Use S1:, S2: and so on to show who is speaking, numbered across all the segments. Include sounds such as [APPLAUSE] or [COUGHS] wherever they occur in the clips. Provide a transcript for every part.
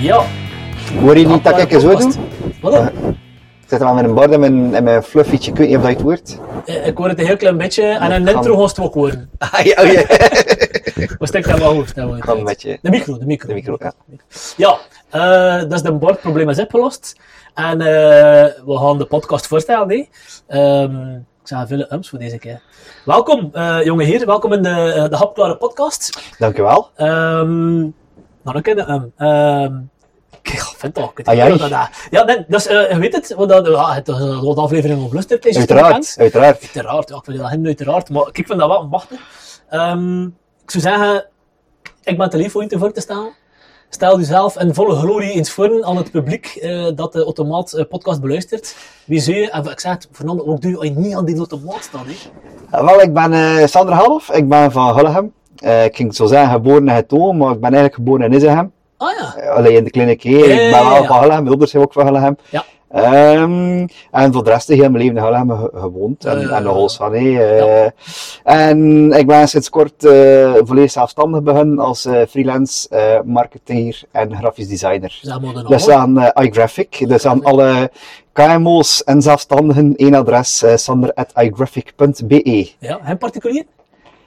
S1: Ja.
S2: Hoor je die tak ik zo doen?
S1: Wat
S2: Ja.
S1: dan?
S2: Ik zit er wel met een bord en mijn, en mijn fluffietje, ik weet niet of dat je het hoort.
S1: Eh, Ik hoor het een heel klein beetje en een
S2: kan-
S1: intro gaat het ook horen. [LAUGHS]
S2: Ah, ja, oh, ja.
S1: Wat stek dat wel hoort. dat wel
S2: Kan een
S1: uit.
S2: beetje.
S1: De micro, de micro.
S2: De micro, ja.
S1: Ja, eh, dus de bordprobleem is opgelost. En eh, we gaan de podcast voorstellen. hè. Ehm, ik zeg veel ums voor deze keer. Welkom, eh jonge heer. Welkom in de, eh, de Hapklare podcast.
S2: [LAUGHS] Dankjewel.
S1: Ehm nou, dan ken je hem. Ehm, ik vind toch, ik weet
S2: Ah,
S1: niet
S2: jij?
S1: wat dat is. Ja, nee, dus, eh, je weet het, want dat, ja, het is een grote aflevering over Lust. Uiteraard.
S2: Uiteraard, uiteraard.
S1: Uiteraard, ja, ik wil dat helemaal uiteraard, maar ik vind dat wel machtig. Ehm, ik zou zeggen, ik ben te lief om je te voor te staan. Stel jezelf in volle glorie eens voor aan het publiek eh, dat de automaat eh, podcast beluistert. Wie zou je, en ik zeg het, Fernando, ook doe je niet aan die automaat staan. Hè?
S2: Ah, Wel, ik ben eh Sander Half, ik ben van Hullegem. Eh, ik ging het zo zeggen, geboren in het Toon, maar ik ben eigenlijk geboren in Izehem.
S1: Ah ja,
S2: Eh, Alleen in de kliniek hier.
S1: Ja,
S2: Ik ben
S1: ja,
S2: wel
S1: ja.
S2: van Hullegem, mijn ouders zijn ook van Hullegem.
S1: Ja.
S2: Ehm, en voor de rest heb ik heel mijn leven in Hullegem ge- gewoond en,
S1: Ja, ja,
S2: en
S1: ja.
S2: nog eens van. hé, eh. En ik ben sinds kort eh, volledig zelfstandig begonnen als eh, freelance eh, marketeer en grafisch designer.
S1: zeg maar de naam.
S2: Dus aan eh, iGraphic, dus aan alle KMO's en zelfstandigen, één adres, eh, sander.igraphic.be.
S1: Ja, hem particulier?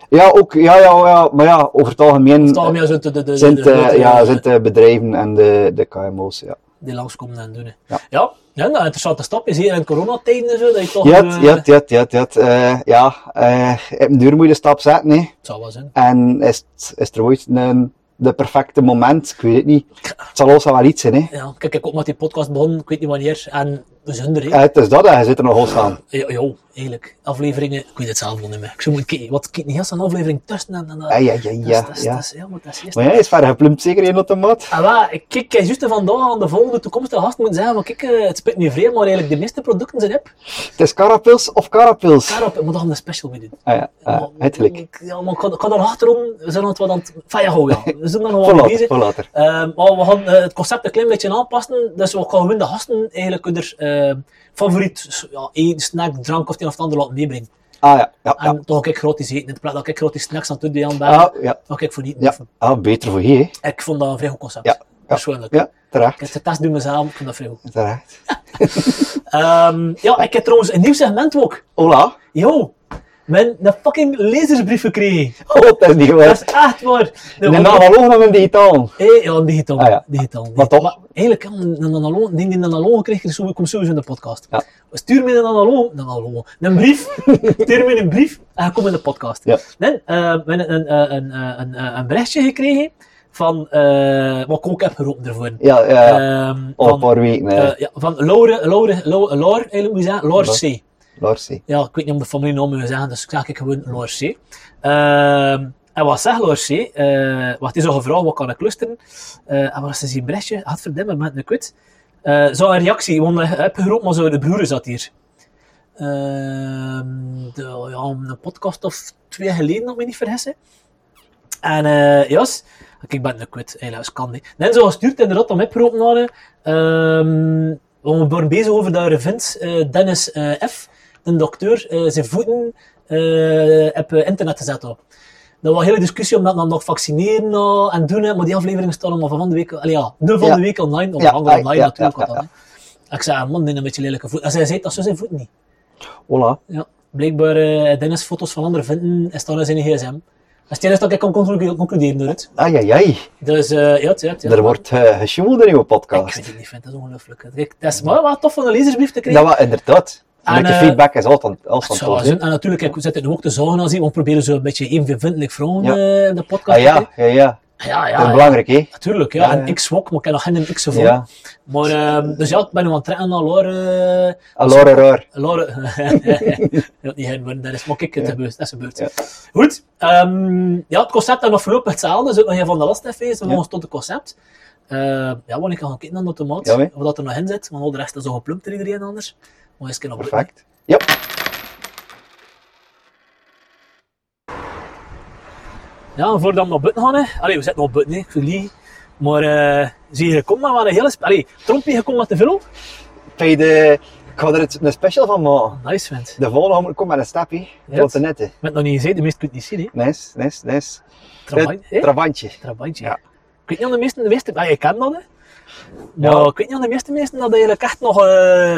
S2: Ja, ook, ja, ja, ja, maar ja, over het algemeen
S1: Of toch meer zo de, de, de,
S2: zijn
S1: de
S2: het, eh,
S1: grote,
S2: Mm, ja,
S1: eh,
S2: zijn het, eh, bedrijven en de, de KMO's, ja.
S1: die langskomen en doen. hè.
S2: Ja.
S1: ja. Ja, nou, interessante stap is hier in coronatijden en zo, dat je toch...
S2: Jet,
S1: eh,
S2: jet, jet, jet, jet, eh, ja, eh, je hebt een duur moet je de stap zetten, hè.
S1: het zal wel zijn.
S2: En is, het- is er ooit een, de perfecte moment? Ik weet het niet. Het zal ons wel iets zijn, hè.
S1: Ja, kijk, ik ook met die podcast begonnen, ik weet niet wanneer, en we zijn er, hè.
S2: Eh, het is dat, hè. je zit er nogal staan.
S1: Ja, jo, eigenlijk. Afleveringen, ik weet het zelf nog niet meer. Ik zou moeten kijken, wat kijk niet eens een aflevering tussen en dan...
S2: Ja, ja, ja,
S1: Dat is-
S2: ja,
S1: dat is-
S2: ja.
S1: dat is- ja, maar dat is eerst-
S2: Maar jij is verder geplumpt, zeker in de maat.
S1: Ah, wel, ik kijk juist juist vandaag aan de volgende toekomstige gast moet zeggen, maar kijk, eh, het spit nu vreemd, maar eigenlijk de meeste producten zijn heb.
S2: Het is Carapils of Carapils?
S1: Daarop, ik moet dan een special mee doen.
S2: Ah ja,
S1: Maar-
S2: eh, uiterlijk.
S1: ik- Ja, maar ik ga- ik ga daar achterom, we zijn aan het wat aan het... Van ja,
S2: [LAUGHS]
S1: goed, ja. We zijn er nog wel mee
S2: Voor later,
S1: bezig.
S2: voor later.
S1: Ehm, maar we gaan eh, het concept een klein beetje aanpassen. Dus we gaan gewoon de gasten eigenlijk hun er, ehm, favoriet s- ja, één snack, drank of het een of het ander laten meebrengen.
S2: Ah ja, ja, ja.
S1: En toch ook ik gratis eten. In de plaats dat ik gratis snacks aan het doen die aan ben,
S2: Ah, ja.
S1: ga ik voor niet.
S2: Ja, ah, beter voor hier, hè.
S1: Ik vond dat een vrij goed concept.
S2: Ja, ja.
S1: Persoonlijk.
S2: Ja,
S1: Ik heb
S2: terecht.
S1: de test doen mezelf, ik vond dat vrij goed.
S2: Terecht.
S1: Ehm, ja, ik heb trouwens een nieuw segment ook.
S2: Hola.
S1: Yo, mijn een fucking lezersbrief gekregen.
S2: Oh, dat is niet waar.
S1: Dat is echt waar.
S2: Een
S1: want-
S2: analoog naar een digitaal.
S1: Eh, ja, digitaal.
S2: Ah, ja.
S1: digitaal, digitaal.
S2: Maar toch?
S1: eigenlijk, ja, een een analoog, die een analoog kreeg, dus ik kom sowieso in de podcast.
S2: Ja.
S1: Stuur me een analoog, een analoog, een
S2: [LAUGHS]
S1: brief. Stuur me een brief en hij komt in de podcast.
S2: Ja.
S1: Nee, eh, we hebben een, een, een, eh, een, een, een berichtje gekregen van, eh wat ik ook heb geroepen ervoor.
S2: Ja, ja.
S1: Ehm,
S2: al
S1: van,
S2: een paar weken, eh,
S1: eh, ja, van Laure, Laure, Laure, Laure, eigenlijk moet je zeggen, Laure C.
S2: Lars, hè.
S1: Ja, ik weet niet om de familienaam te zeggen, dus ik zeg ik gewoon Loor C. Ehm, en wat zegt Loor C? Eh, wat is al gevraagd, wat kan ik luisteren? Eh, en wat is zijn bresje? Had verdienen met een kut. Eh zo een reactie, want ik heb geroepen, maar zo de broer zat hier. Ehm, de, ja, een podcast of twee geleden, om me niet vergissen. En eh Jas, ik ben een kwit, helaas kan niet. Net zo gestuurd inderdaad om opgeroepen worden. Ehm we waren bezig over dat revent eh Dennis eh, F., een dokter, eh, zijn voeten eh, op eh, internet te zetten. Dat was een hele discussie om dat dan nog vaccineren eh, en doen, hè, maar die aflevering staat allemaal van de week, allee, ja, nu van
S2: Ja.
S1: de week online, of
S2: Ja,
S1: hangen
S2: ah,
S1: online
S2: ja,
S1: natuurlijk.
S2: ja,
S1: wat
S2: ja,
S1: dan, hè. Ik zei, ah, man, die een beetje lelijke voet. En zij zei dat zo zijn voet niet.
S2: Hola.
S1: Ja, blijkbaar eh Dennis foto's van anderen vinden en staan in zijn gsm. Dat is het enige dat ik kan conclu- concluderen door het.
S2: Ai, ai, ai.
S1: Dus eh ja, het- ja, het- ja.
S2: Er wordt eh gesjoemeld in uw
S1: Ik
S2: podcast.
S1: weet het niet, vind dat is ongelooflijk. Kijk, dat is maar wat tof van een lezersbrief te krijgen.
S2: Dat was inderdaad.
S1: En,
S2: Een beetje
S1: eh,
S2: feedback is altijd altijd
S1: Het zou
S2: tof,
S1: wel
S2: hè.
S1: zijn. En natuurlijk, ik zit het nu ook te zorgen als iemand we proberen zo een beetje even vriendelijk vrouwen
S2: Ja.
S1: eh, in de podcast
S2: Ah
S1: te
S2: ja,
S1: krijgen.
S2: ja, ja.
S1: ja, ja,
S2: Dat is
S1: ja.
S2: belangrijk, hè.
S1: Natuurlijk, ja.
S2: Ja, ja.
S1: En ik zwok, maar ik heb nog geen X gevonden.
S2: Ja.
S1: Maar, ehm, dus ja, ik ben nu aan het trekken naar Laure. eh,
S2: Allora, raar.
S1: [LAUGHS] Laure. ja, niet heen, maar dat is maar ik het
S2: Ja.
S1: gebeurt. Dat is gebeurd.
S2: Ja.
S1: Goed. ehm, ja, het concept is nog voorlopig hetzelfde. Zit nog een van de last feest. We
S2: Ja.
S1: gaan tot het concept. Eh, ja, want ik ga gaan kijken naar de automaat.
S2: Ja, hè.
S1: of dat er nog in zit. Want al de rest is al geplumpt door iedereen anders. Maar eens kunnen
S2: Perfect. Ja.
S1: Ja, en voordat we naar buiten gaan, hè. Allee, we zitten nog buiten, hè. ik verlie. Maar eh, zie je, kom maar, maar een hele... sp- Allee, trompje, je komt met te veel op.
S2: Bij de... Ik ga er het- een special van maken.
S1: Nice, vent.
S2: De volgende komt met een stapje. Tot de nette.
S1: Met nog niet gezien, de meesten kunnen het niet zien, hè.
S2: Nice, nice, nice.
S1: Trabant, hè.
S2: Trabantje.
S1: Trabantje.
S2: Ja.
S1: Ik weet niet of de meesten... De meesten... Ah, je kent dat, hè. Maar
S2: Ja.
S1: ik weet niet of de meeste mensen dat eigenlijk echt nog, eh,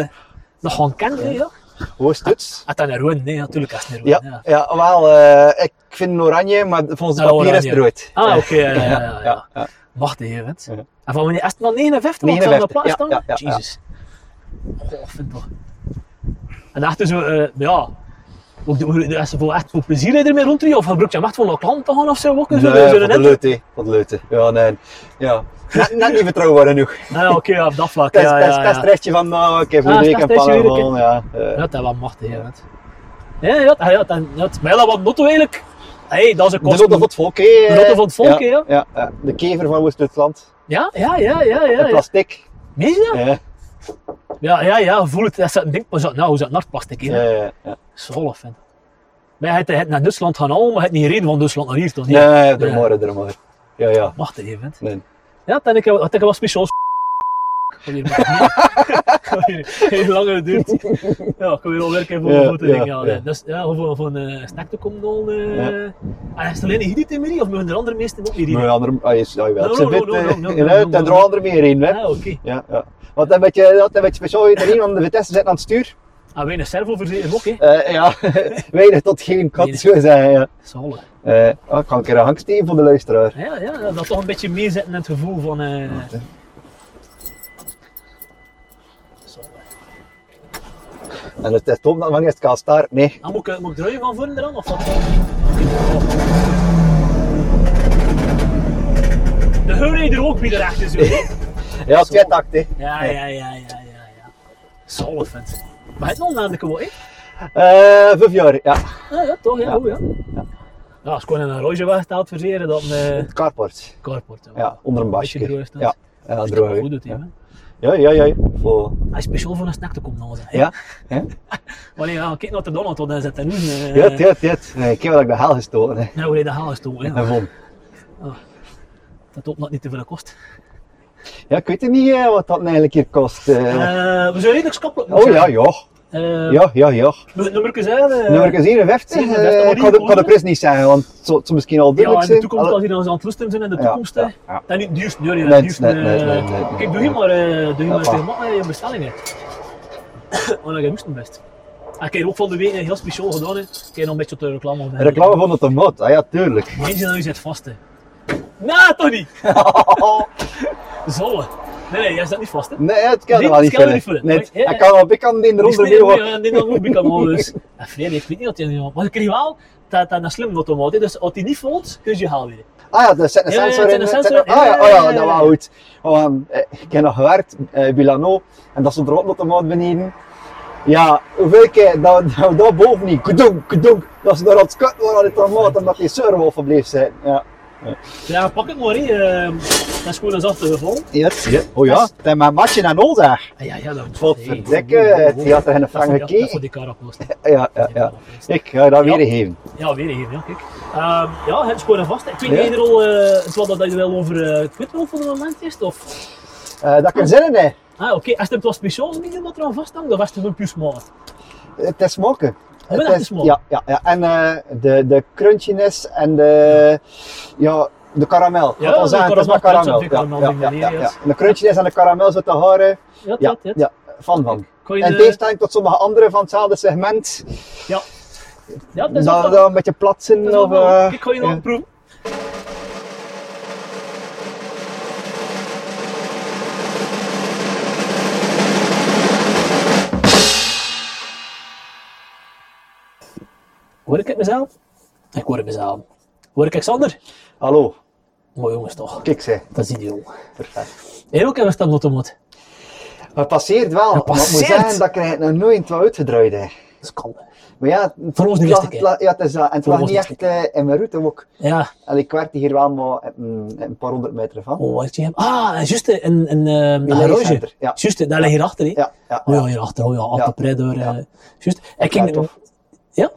S1: nog gaan kennen. hè, Ja.
S2: Hoe is het?
S1: Ah, dat is een rood, nee, natuurlijk is het een rood.
S2: Ja,
S1: Ah, ja.
S2: ja wel, eh, ik vind een oranje, maar volgens de
S1: Ah,
S2: papier is
S1: oranje.
S2: het rood.
S1: Ah,
S2: Ja.
S1: oké, ja, ja, ja, ja.
S2: ja, ja.
S1: Wacht even.
S2: Ja.
S1: En van wanneer is het maar 59? Want
S2: 59,
S1: plaats
S2: ja,
S1: dan?
S2: ja, ja, ja.
S1: Jezus. Goh, vind toch. En dachten ze, eh, ja. Ook de, de, is er voor echt voor plezier ermee rondrijden? Of gebruik je hem echt voor naar klant te gaan of zo? Ook, zo, zo,
S2: Nee,
S1: zo
S2: wat
S1: net?
S2: leute, wat leute. Ja, nee. Ja. Net, net niet
S1: [LAUGHS]
S2: betrouwbaar genoeg.
S1: Ah, ja, oké, ja, op dat vlak.
S2: Test,
S1: ja,
S2: test,
S1: ja, ja.
S2: testrechtje van, nou, ik heb
S1: Ah,
S2: een week en
S1: testrestje
S2: pannen
S1: weer een
S2: gewoon, ja. eh.
S1: Ja, dat is wel machtig, ja. net. Ja, ja, ja, ja, dat- ja. Maar ja, dat wat notto eigenlijk. hey, dat is een
S2: De
S1: kost.
S2: Lotte van het Volk, hè. De
S1: Lotte van het Volk, hè, ja.
S2: ja. ja. De kever van West-Duitsland.
S1: Ja, ja, ja, ja, ja.
S2: Het
S1: ja.
S2: plastic.
S1: Meen je dat?
S2: Ja,
S1: Ja, ja, ja, voel het. Dat ding, maar zo, nou, hoe zat nartplastic in?
S2: ja, ja, ja.
S1: Zwolle vind. Maar het, het naar Duitsland gaan al, maar het niet reden van Duitsland naar hier toch niet?
S2: Ja, ja,
S1: Ja.
S2: er maar, er maar. Ja, ja.
S1: Wacht even. hè.
S2: Nee.
S1: Ja, dat ik, dat ik wel speciaal. Kom hier, [LAUGHS] maar. Heel lang het duurt. Ja, ik wil weer al werken voor
S2: Ja,
S1: mijn voeten.
S2: ja,
S1: denk ik, Ja,
S2: ja.
S1: nee. Dus ja, om voor, voor een eh, snack te komen dan. eh.
S2: Ja.
S1: En is het alleen hier niet in meer? Of moeten er andere meesten ook weer
S2: Maar
S1: hier?
S2: andere, ah, je, ja, je
S1: No,
S2: wel.
S1: no,
S2: Ze
S1: no,
S2: wit,
S1: no,
S2: eh,
S1: no, no,
S2: [LAUGHS] in
S1: no,
S2: uit
S1: no,
S2: en
S1: no.
S2: er andere meer in, hè.
S1: Ah, oké.
S2: Ja, ja. Want dan ben je, dat beetje speciaal erin, want de Vitesse zit aan het stuur.
S1: En Ah, weinig servo verzekeren ook, hè?
S2: Eh, ja, [LAUGHS] weinig tot geen kat, zo zeggen, ja.
S1: Zalig.
S2: Eh, ah, ik ga een keer een hangsteven voor de luisteraar.
S1: Ja, ja, dat toch een beetje meezetten in het gevoel van. eh,
S2: Wacht, hè.
S1: Zalig.
S2: En het is top dat man eerst kan starten, nee.
S1: Dan Ah, moet ik, moet ik draaien van voren eraan of wat? De heur er ook weer erachter zo. hè?
S2: [LAUGHS] Ja,
S1: Zo.
S2: twee takt, hè.
S1: Ja, ja, ja, ja, ja, ja. Zalig vent. Maar het nog namelijk gewoon, hè? Ah,
S2: Eh, vijf jaar, ja.
S1: Ja, ja, toch, ja,
S2: Ja.
S1: goed, ja.
S2: Ja.
S1: Ja, als ik gewoon in een roosje wegstaat verzeren, dan eh
S2: Carport.
S1: carport. Ja,
S2: Ja, onder een
S1: Beetje
S2: basje.
S1: droog is dat.
S2: Ja, ja,
S1: dat is
S2: droog.
S1: toch
S2: hè.
S1: goed doet hij,
S2: ja.
S1: hè?
S2: ja, ja, ja. Voor...
S1: Hij is speciaal voor een snack te komen, dan zeg.
S2: Ja, ja.
S1: Wanneer ja, kijk naar de Donald, want hij zit er nu. eh,
S2: Ja, ja, ja. Eh, Ik heb wel dat ik de haal gestoten, hè.
S1: Nou, hoe hij de haal is toch, hè?
S2: En van.
S1: Dat hoopt dat het niet te veel kost.
S2: Ja, ik weet het niet eh, wat dat nou eigenlijk hier kost. eh.
S1: Eh, we zijn redelijk schappelijk. moet ik
S2: oh ja,
S1: zeggen.
S2: ja.
S1: Eh,
S2: Ja, ja, ja.
S1: Moet het nummerke zijn? eh,
S2: Nummer 54. eh,
S1: 54, maar
S2: Ik
S1: die
S2: ga de- ik ga de
S1: worden-
S2: prijs niet zeggen, want het zou het zou misschien al
S1: Ja,
S2: duidelijk
S1: in de
S2: zijn.
S1: toekomst,
S2: Alle-
S1: als die dan aan het rusten zijn in de
S2: Ja,
S1: toekomst. hè.
S2: ja, ja.
S1: Dat is niet het duurste, nee, nee,
S2: Nee,
S1: het duurste.
S2: nee, nee,
S1: eh,
S2: nee, nee, nee.
S1: Kijk, doe hier maar, eh, doe hier maar
S2: Ja.
S1: tegen mannen je bestellingen. [COUGHS] Want ik moest hem best. En ik heb ook van de week een heel speciaal gedaan. hè. Ik heb nog een beetje op de reclame van.
S2: Reclame van de tomaat, ah ja,
S1: [LAUGHS]
S2: tuurlijk.
S1: Mensen nou zit vast. hè. Nou, Nee, toch niet? Zolle. Nee, nee, jij zit niet vast. Hè.
S2: Nee, het kan
S1: Nee,
S2: er wel
S1: het
S2: niet
S1: kan er
S2: vullen.
S1: niet vullen.
S2: Nee,
S1: Maar, ja,
S2: ik kan op ik kan die eronder mee
S1: Die is
S2: wat-
S1: niet goed bij kan
S2: [LAUGHS]
S1: dus. En Freddy, ik weet niet wat hij nu Maar ik kreeg wel dat dat een slim automaat is. Dus als hij niet valt, kun je je haal weer.
S2: Ah ja, er zit een
S1: Ja, ja,
S2: sensor
S1: er
S2: in.
S1: zit een
S2: er zit
S1: sensor.
S2: een- Ah ja,
S1: Ja, ja,
S2: oh ja,
S1: ja,
S2: dat was
S1: ja.
S2: goed. Want, eh, ik heb nog gewerkt bij Bilano en dat stond er ook nog automaat beneden. Ja, hoeveel keer dat, dat we daar boven niet, kudonk, kudonk, dat ze daar aan het kut waren aan die tomaat omdat die servo bleef zijn. Ja.
S1: Ja, pak het maar. hè. Eh, Dat is gewoon een zachte geval.
S2: Yes. Oh ja,
S1: Dat
S2: dat is mijn matje en al daar.
S1: Ah, Ja, ja, dat
S2: Wat verdikken, het theater en de
S1: Dat is voor
S2: Franke
S1: die- dat is
S2: Key.
S1: voor die karakoos.
S2: Ja, ja, ja. Ik ga dat
S1: Ja.
S2: weer geven.
S1: Ja, weer even, ja, kijk. Ehm, ja, het is gewoon een vast. Ik weet
S2: Ja.
S1: niet eerder al, eh, het wat dat je wel over eh Quidwell voor het moment is, of...
S2: Eh, dat kan zin in, hè.
S1: Ah, oké, als het was speciaal medium dat er aan vast hangt, dan was het een puur smaller.
S2: Het is smoken.
S1: Oh, dat is smoken.
S2: Ja, ja, ja. En eh, de, de crunchiness en de, ja, de karamel.
S1: Ja,
S2: Wat al
S1: de
S2: zeggen, het is maar
S1: karamel, dat
S2: karamel.
S1: is een
S2: Ja,
S1: karamel,
S2: ja,
S1: die
S2: ja, ja,
S1: manier,
S2: ja. En De crunchiness en de karamel zo te horen.
S1: Ja,
S2: Ja,
S1: dat, dat.
S2: ja, van van.
S1: Kan je
S2: In
S1: de-
S2: tegenstelling tot sommige anderen van hetzelfde segment,
S1: Ja. Ja, dat
S2: dat
S1: is ook wel-
S2: Nou, dat een beetje plat
S1: dat
S2: zijn
S1: is ook
S2: of...
S1: wel-
S2: eh,
S1: Ik kan je nog
S2: ja.
S1: een proeven. Hoor ik het mezelf? Ik hoor het mezelf. Hoor ik Alexander?
S2: Hallo,
S1: Mooi jongens toch,
S2: kijk ze.
S1: dat is ideaal.
S2: Perfect.
S1: En ook hebben we dat automaat.
S2: Maar het passeert wel. Maar het moet
S1: passeert.
S2: zeggen, dat krijg je nog nooit wat uitgedraaid. Hè.
S1: Dat is kan.
S2: Maar ja, het-
S1: Voor ons de eerste
S2: het lag-
S1: keer.
S2: het lag- Ja, het is dat. En het
S1: Voor
S2: lag
S1: ons
S2: niet
S1: de
S2: echt eh, in mijn route ook.
S1: Ja,
S2: En ik werkte hier wel maar een, een paar honderd meter van.
S1: oh, wat je hem? Ah, en juist een, een, ehm, een garage.
S2: leercenter, ja.
S1: Juist, daar ligt hierachter. hè.
S2: Ja, ja,
S1: Oh ja,
S2: ja.
S1: hierachter. Oh ja,
S2: Ja.
S1: altijd pret door.
S2: Ja.
S1: eh, Juist. Ik ging...
S2: Ja, tof.
S1: Ja?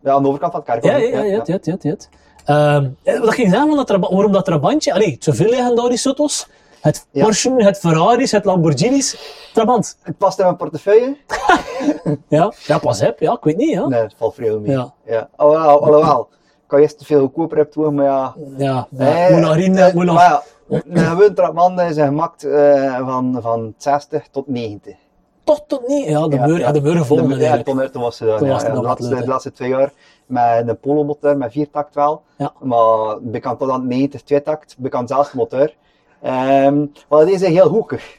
S2: Ja, aan de overkant van het
S1: Ja,
S2: karkon.
S1: ja, ja, ja, ja, ja, ja. Ehm, eh, wat ik ging zeggen, want dat, er- waarom dat trabantje, allee, zoveel legendarische auto's, het
S2: Ja.
S1: Porsche, het Ferraris, het Lamborghinis, trabant.
S2: Het past in mijn portefeuille?
S1: Ja, ja pas heb, ja, ik weet niet, ja.
S2: Nee, het valt veel mee.
S1: Ja.
S2: Alhoewel, alhoewel. Ik kan eerst te veel goedkoper hebben toen, maar ja.
S1: Ja,
S2: Eh,
S1: moet nog herinneren,
S2: eh,
S1: moet nog...
S2: maar ja, Een gewoon trapmanda is gemaakt eh, van, van 60 tot 90.
S1: Tot tot niet. Ja, de
S2: Ja,
S1: muur, ja.
S2: ja.
S1: de muur gevonden.
S2: De- ja,
S1: eigenlijk.
S2: toen, toen was ze daar.
S1: Toen
S2: ja,
S1: was ze
S2: ja,
S1: nog
S2: de,
S1: wat
S2: laatste,
S1: leuk,
S2: de laatste twee jaar met een polomotor, met viertakt wel.
S1: Ja.
S2: Maar bekend tot aan het 90 tweetakt, bekend zelfs motor. Ehm maar deze is heel hoekig.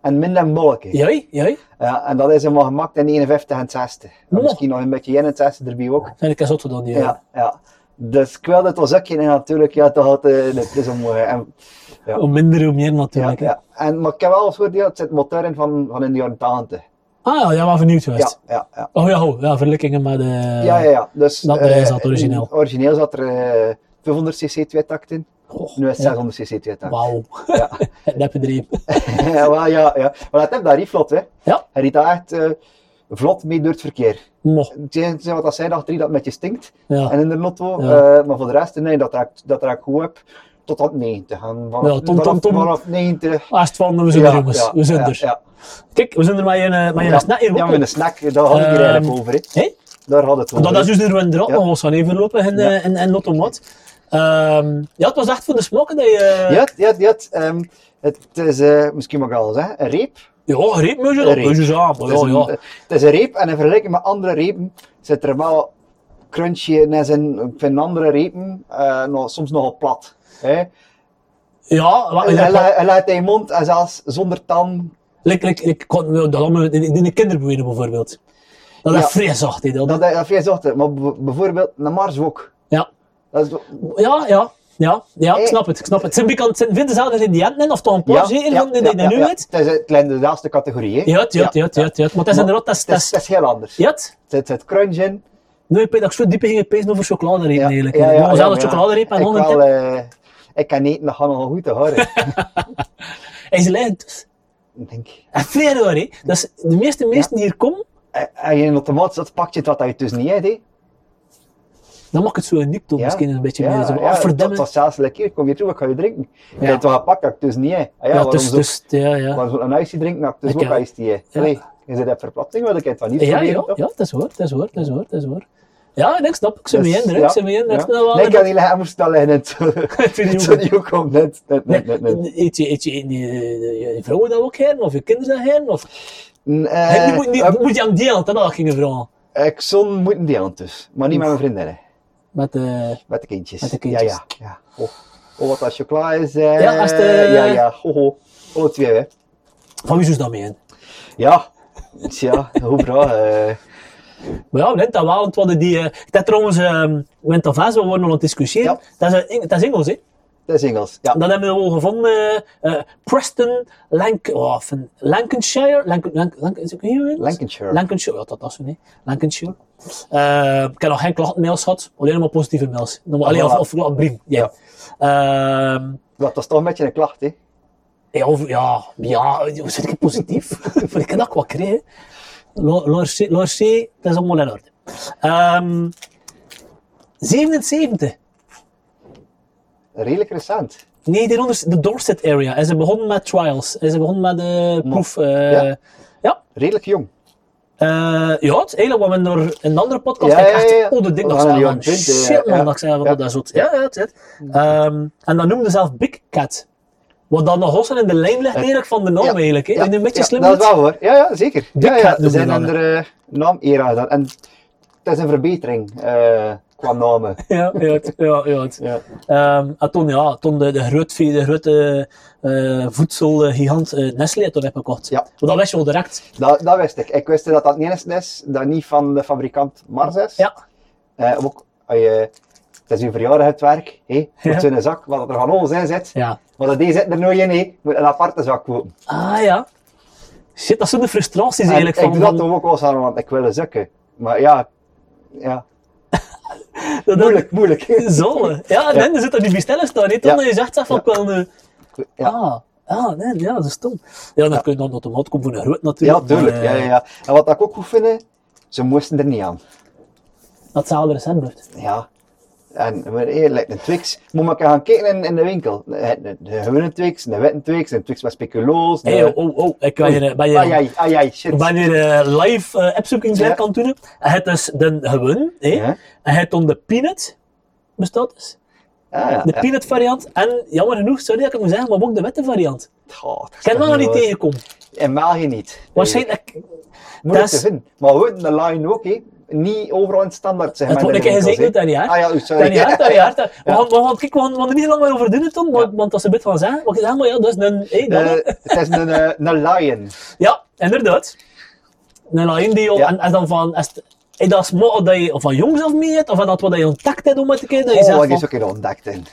S2: En minder bolkig.
S1: Jij, jij.
S2: Ja, en dat is hem wel gemaakt in 51 en 60. En
S1: Mo.
S2: Misschien nog een beetje 61 erbij ook.
S1: Vind ik een zot dan die.
S2: Ja, ja. Dus ik wilde het was ook geen en natuurlijk, ja, toch had eh, het is om. eh, en, ja.
S1: Hoe minder, hoe meer
S2: ja,
S1: natuurlijk. hè.
S2: ja. En, maar ik heb wel als voordeel, het zit motor in van, van in de jaren 80.
S1: Ah ja, jij was vernieuwd
S2: Ja,
S1: geweest.
S2: ja, ja.
S1: Oh ja, ho, ja, vergelijkingen met de...
S2: Ja, ja, ja. Dus,
S1: Eh, dat bedrijf
S2: eh,
S1: zat origineel.
S2: in- Origineel zat er eh, 500 cc twee takt in,
S1: Goh,
S2: nu is
S1: ja.
S2: het 600 cc twee takt.
S1: Wauw.
S2: Ja.
S1: [LAUGHS] Het neppe dream.
S2: [LAUGHS] ja, wel, ja, ja. Maar dat heb daar niet vlot, hè.
S1: Ja.
S2: Hij riet daar echt eh, vlot mee door het verkeer.
S1: Mocht.
S2: Het enige wat dat zij dacht, drie dat met je stinkt.
S1: Ja.
S2: En in de lotto,
S1: Ja.
S2: eh, maar voor de rest, nee, dat raakt, dat raakt goed heb. Tot aan het 90. En vanaf,
S1: Ja, tom, tom,
S2: vanaf,
S1: tom.
S2: vanaf 90.
S1: Als Ah, het valt, we zijn er jongens. we zijn
S2: ja,
S1: er.
S2: Ja,
S1: Kijk, we zijn er maar in, eh, maar in
S2: ja.
S1: een snack hier.
S2: Ja,
S1: ook.
S2: met een snack, daar had ik hier
S1: Ehm,
S2: eigenlijk over. hè.
S1: hé?
S2: Daar had het over.
S1: Want dat is dus er in de rot
S2: Ja.
S1: nog eens van even lopen en,
S2: Ja.
S1: eh, en, en Lotto Mat. Ehm, ja, het was echt voor de smokken dat je... eh,
S2: Ja, ja, ja. ehm, het is, eh, misschien mag ik al zeggen, een reep.
S1: Ja, reepmuizen,
S2: Een
S1: dat
S2: reep.
S1: muizen samen.
S2: Het is,
S1: Ja,
S2: een, eh,
S1: ja.
S2: het is een reep en in vergelijking met andere repen zit er wel crunchy in. en zijn- Ik vind andere repen eh, nog, soms nogal plat. Hè?
S1: Ja, wat
S2: Hij
S1: is dat?
S2: la- hij laat in je mond en zelfs zonder tand.
S1: Like, like, like, kon- dat allemaal in, in de kinderboeien bijvoorbeeld. Dat is
S2: Ja.
S1: vrij zacht, hè, dat.
S2: Dat, dat, dat vind je zacht, hè. maar b- bijvoorbeeld een marswok.
S1: Ja.
S2: Dat is,
S1: Ja, ja. Ja, ja, ik
S2: Eh.
S1: snap het, ik snap het. Zijn bekant, zijn vindt dezelfde ingrediënten in, of toch een paar zeker van die die
S2: ja,
S1: nu
S2: ja.
S1: uit?
S2: Het is het klein- de laatste categorie. hè.
S1: Ja, het, ja, het, ja, het, ja, het, ja. het. Maar het is
S2: Maar
S1: inderdaad, dat is,
S2: Het,
S1: dat
S2: is,
S1: is,
S2: het is heel anders.
S1: ja, het.
S2: Het zit- zit crunch in.
S1: Nu heb ik dat ik zo diep ging pezen over chocoladereep
S2: Ja,
S1: eigenlijk.
S2: ja, ja,
S1: Gewoon
S2: ja,
S1: zelf een
S2: ja.
S1: chocoladereep en
S2: Ik
S1: dan een
S2: wel,
S1: tip.
S2: eh, Ik kan eten, dat gaat nogal goed te
S1: [LAUGHS]
S2: horen. eh,
S1: Hij is leid dus.
S2: Ik denk,
S1: En vrij hoor, hè. Dus de meeste mensen die hier komen,
S2: eh, als je in een automaat zat, pak je het wat dat je tussen niet hebt. hè.
S1: dan mag ik het zo uniek doen.
S2: Ja.
S1: Misschien een beetje meer zo
S2: dat
S1: afverdemmen.
S2: was zelfs lekker. Ik kom hier toe, ik ga je drinken. Ik
S1: Ja.
S2: heb het wel gepakt, dat ik dus niet. hè. Ah ja,
S1: Ja,
S2: waarom
S1: dus,
S2: zo,
S1: dus, ja, ja.
S2: waarom zou ik een ijsje drinken? Nou, dus
S1: Ik
S2: ook
S1: heb-
S2: ijsje. hè.
S1: ja.
S2: Allee, je zit op verplatting, wil ik het wel niet
S1: Ja, ja,
S2: proberen,
S1: ja,
S2: toch?
S1: dat is hoor, dat is hoor, dat is hoor, dat is hoor. Ja, ik denk, snap, ik zit
S2: Dus,
S1: mee in,
S2: ja,
S1: ik zit mee in.
S2: ja.
S1: Ik snap wel
S2: Nee, ik
S1: dat-
S2: kan niet leggen, hij moest het al leggen.
S1: [LAUGHS]
S2: Het [LAUGHS]
S1: Ik vind het
S2: het
S1: niet
S2: zou niet ook komen. Net, net, net, net, net.
S1: Nee, eet je, eet je, eet je, je vrouwen dat ook heren? Of je kinderen dat heren? Of...
S2: Mm, eh,
S1: Heb je- moet, niet-
S2: eh,
S1: moet je aan die hand dat ook gingen vragen?
S2: Ik zon moet een deel dus, maar niet met mijn vriendinnen.
S1: Met, eh
S2: Met de kindjes.
S1: Met de kindjes.
S2: Ja, ja. ja. Oh, oh, wat als chocola is. eh,
S1: Ja, als de-
S2: Ja, ja. Ho, ho. Alle twee, hè.
S1: van wie is dat mee in?
S2: Ja. Tja, hoe bra. eh.
S1: Maar ja, we hebben dat wel, want we hadden die... eh, ik had trouwens, um, met Tavares, we waren nog aan het discussiëren. Dat, is, een- dat is Engels, hè?
S2: Dat is Engels. Ja.
S1: Dat hebben we wel gevonden. eh, eh, Preston, Lanc oh, van Lancashire? Lanc Lanc Lanc is het ook hier?
S2: Lancashire.
S1: Lancashire, ja, dat was het, hè. Lancashire. Eh, ik heb nog geen klachtenmails gehad, alleen maar positieve mails. Nog- Alleen, of,
S2: Ah, voilà.
S1: of, een brief, ja. Ehm,
S2: Dat was toch een beetje een klacht, hè?
S1: Ja, of- ja, ja, zit ik positief? [LAUGHS] Voor ik kan dat ook wel krijgen. Lors C, dat is allemaal in orde. Ehm 77,
S2: Redelijk recent.
S1: 1900, de Dorset area. En ze begonnen met trials. En ze begonnen met de proef. eh,
S2: ja?
S1: ja.
S2: Redelijk jong.
S1: Eh, ja, het is eigenlijk wat we door in een andere podcast
S2: Ja,
S1: ik
S2: ja,
S1: echt,
S2: ja, ja.
S1: oh, dat ding
S2: We
S1: dat
S2: gaan
S1: zei
S2: die
S1: van,
S2: aan het punt, eh,
S1: shit man,
S2: ja.
S1: dat ik zei van,
S2: Ja.
S1: oh, dat is zot. Ja, ja, het zit. Ehm, en dat noemde zelf Big Cat. Wat dan nog hossen in de lijn ligt eigenlijk van de naam
S2: Ja.
S1: eigenlijk. hè.
S2: Ja,
S1: En een beetje
S2: ja,
S1: slim.
S2: Dat
S1: doet.
S2: is wel hoor. Ja, ja zeker. Ja,
S1: Cat
S2: ja.
S1: noemen
S2: Er zijn
S1: we dat, hè.
S2: andere naam era gedaan. En het is een verbetering eh, qua namen.
S1: ja, ja, het- ja, [LAUGHS] ja. het.
S2: Ja.
S1: Ehm, en toen, ja, toen de, de grote, de grote eh, voedselgigant eh, Nestlé toen heb gekocht.
S2: Ja.
S1: Want dat wist je al direct.
S2: Dat, dat wist ik. Ik wist dat dat niet eens is, dat niet van de fabrikant Mars is.
S1: Ja.
S2: Eh, ook, als je, het is uw verjaardag het werk, hé,
S1: Ja.
S2: moet zo'n zak, wat er van alles in zit.
S1: ja.
S2: Maar dat die zit er nooit in, hé. moet een aparte zak kopen.
S1: Ah ja. Shit, dat zijn de frustraties
S2: En
S1: eigenlijk.
S2: ik
S1: Van,
S2: doe dat
S1: van-
S2: toch ook wel eens aan, want ik wil een zakken. Maar ja, ja.
S1: dat- dat-
S2: moeilijk, moeilijk.
S1: [LAUGHS] Zo, hè. ja, en dan zit er die bestellen staan. Niet
S2: Ja.
S1: dan je zegt zelf ook wel een.
S2: Ja.
S1: Ah, ah, nee, ja, dat is stom. Ja, dan kun je dan de automaat komen voor een groot
S2: Ja,
S1: natuurlijk.
S2: tuurlijk.
S1: maar,
S2: Ja,
S1: eh,
S2: ja, ja. En wat ik ook goed vind, ze moesten er niet aan.
S1: eh, Dat hetzelfde recent blijft.
S2: Ja. En maar eerlijk, een Twix. Moet ik gaan kijken in, in de winkel. Een een- een gewone Twix, een witte Twix, een Twix met speculoos.
S1: Hey, oh, oh, oh, ik ben hier, eh, ben hier-
S2: Ai, ai, ai, ai, shit.
S1: wanneer eh, live eh appzoeking zijn
S2: Ah, Ja.
S1: kan doen. Het is de gewoon, hè.
S2: Ja.
S1: En het om de peanut bestaat dus.
S2: Ja, ja,
S1: De
S2: ja.
S1: peanut variant en jammer genoeg, sorry dat ik het moet zeggen, maar ook de witte variant.
S2: Goh, Oh, dat is
S1: Ik heb
S2: toch
S1: hem nog niet
S2: hoor.
S1: tegengekomen.
S2: In België niet.
S1: Waarschijnlijk,
S2: Moet
S1: dat
S2: te
S1: is-
S2: vinden. Maar we de line ook, hè. Niet overal in het standaard zijn.
S1: het wordt een keer gezegend, Danny Hart.
S2: Ah ja, oei, sorry.
S1: Danny
S2: [LAUGHS]
S1: Hart, Danny Hart. We gaan, we gaan, kijk, we gaan, we gaan er niet lang meer over doen, Tom, want, want dat is een bit van zijn. Maar, ja, maar ja, dat is een... Hey, dat-
S2: Eh, het is een, eh,
S1: [LAUGHS]
S2: een lion.
S1: Ja, inderdaad. Een lijn die je-
S2: Ja.
S1: en, en dan van, is, het- is dat smaak dat je van jongs af mee hebt, of is dat wat je ontdekt hebt om het te kijken, dat je
S2: Oh,
S1: zegt
S2: wat
S1: van,
S2: is ook in ontdekt in.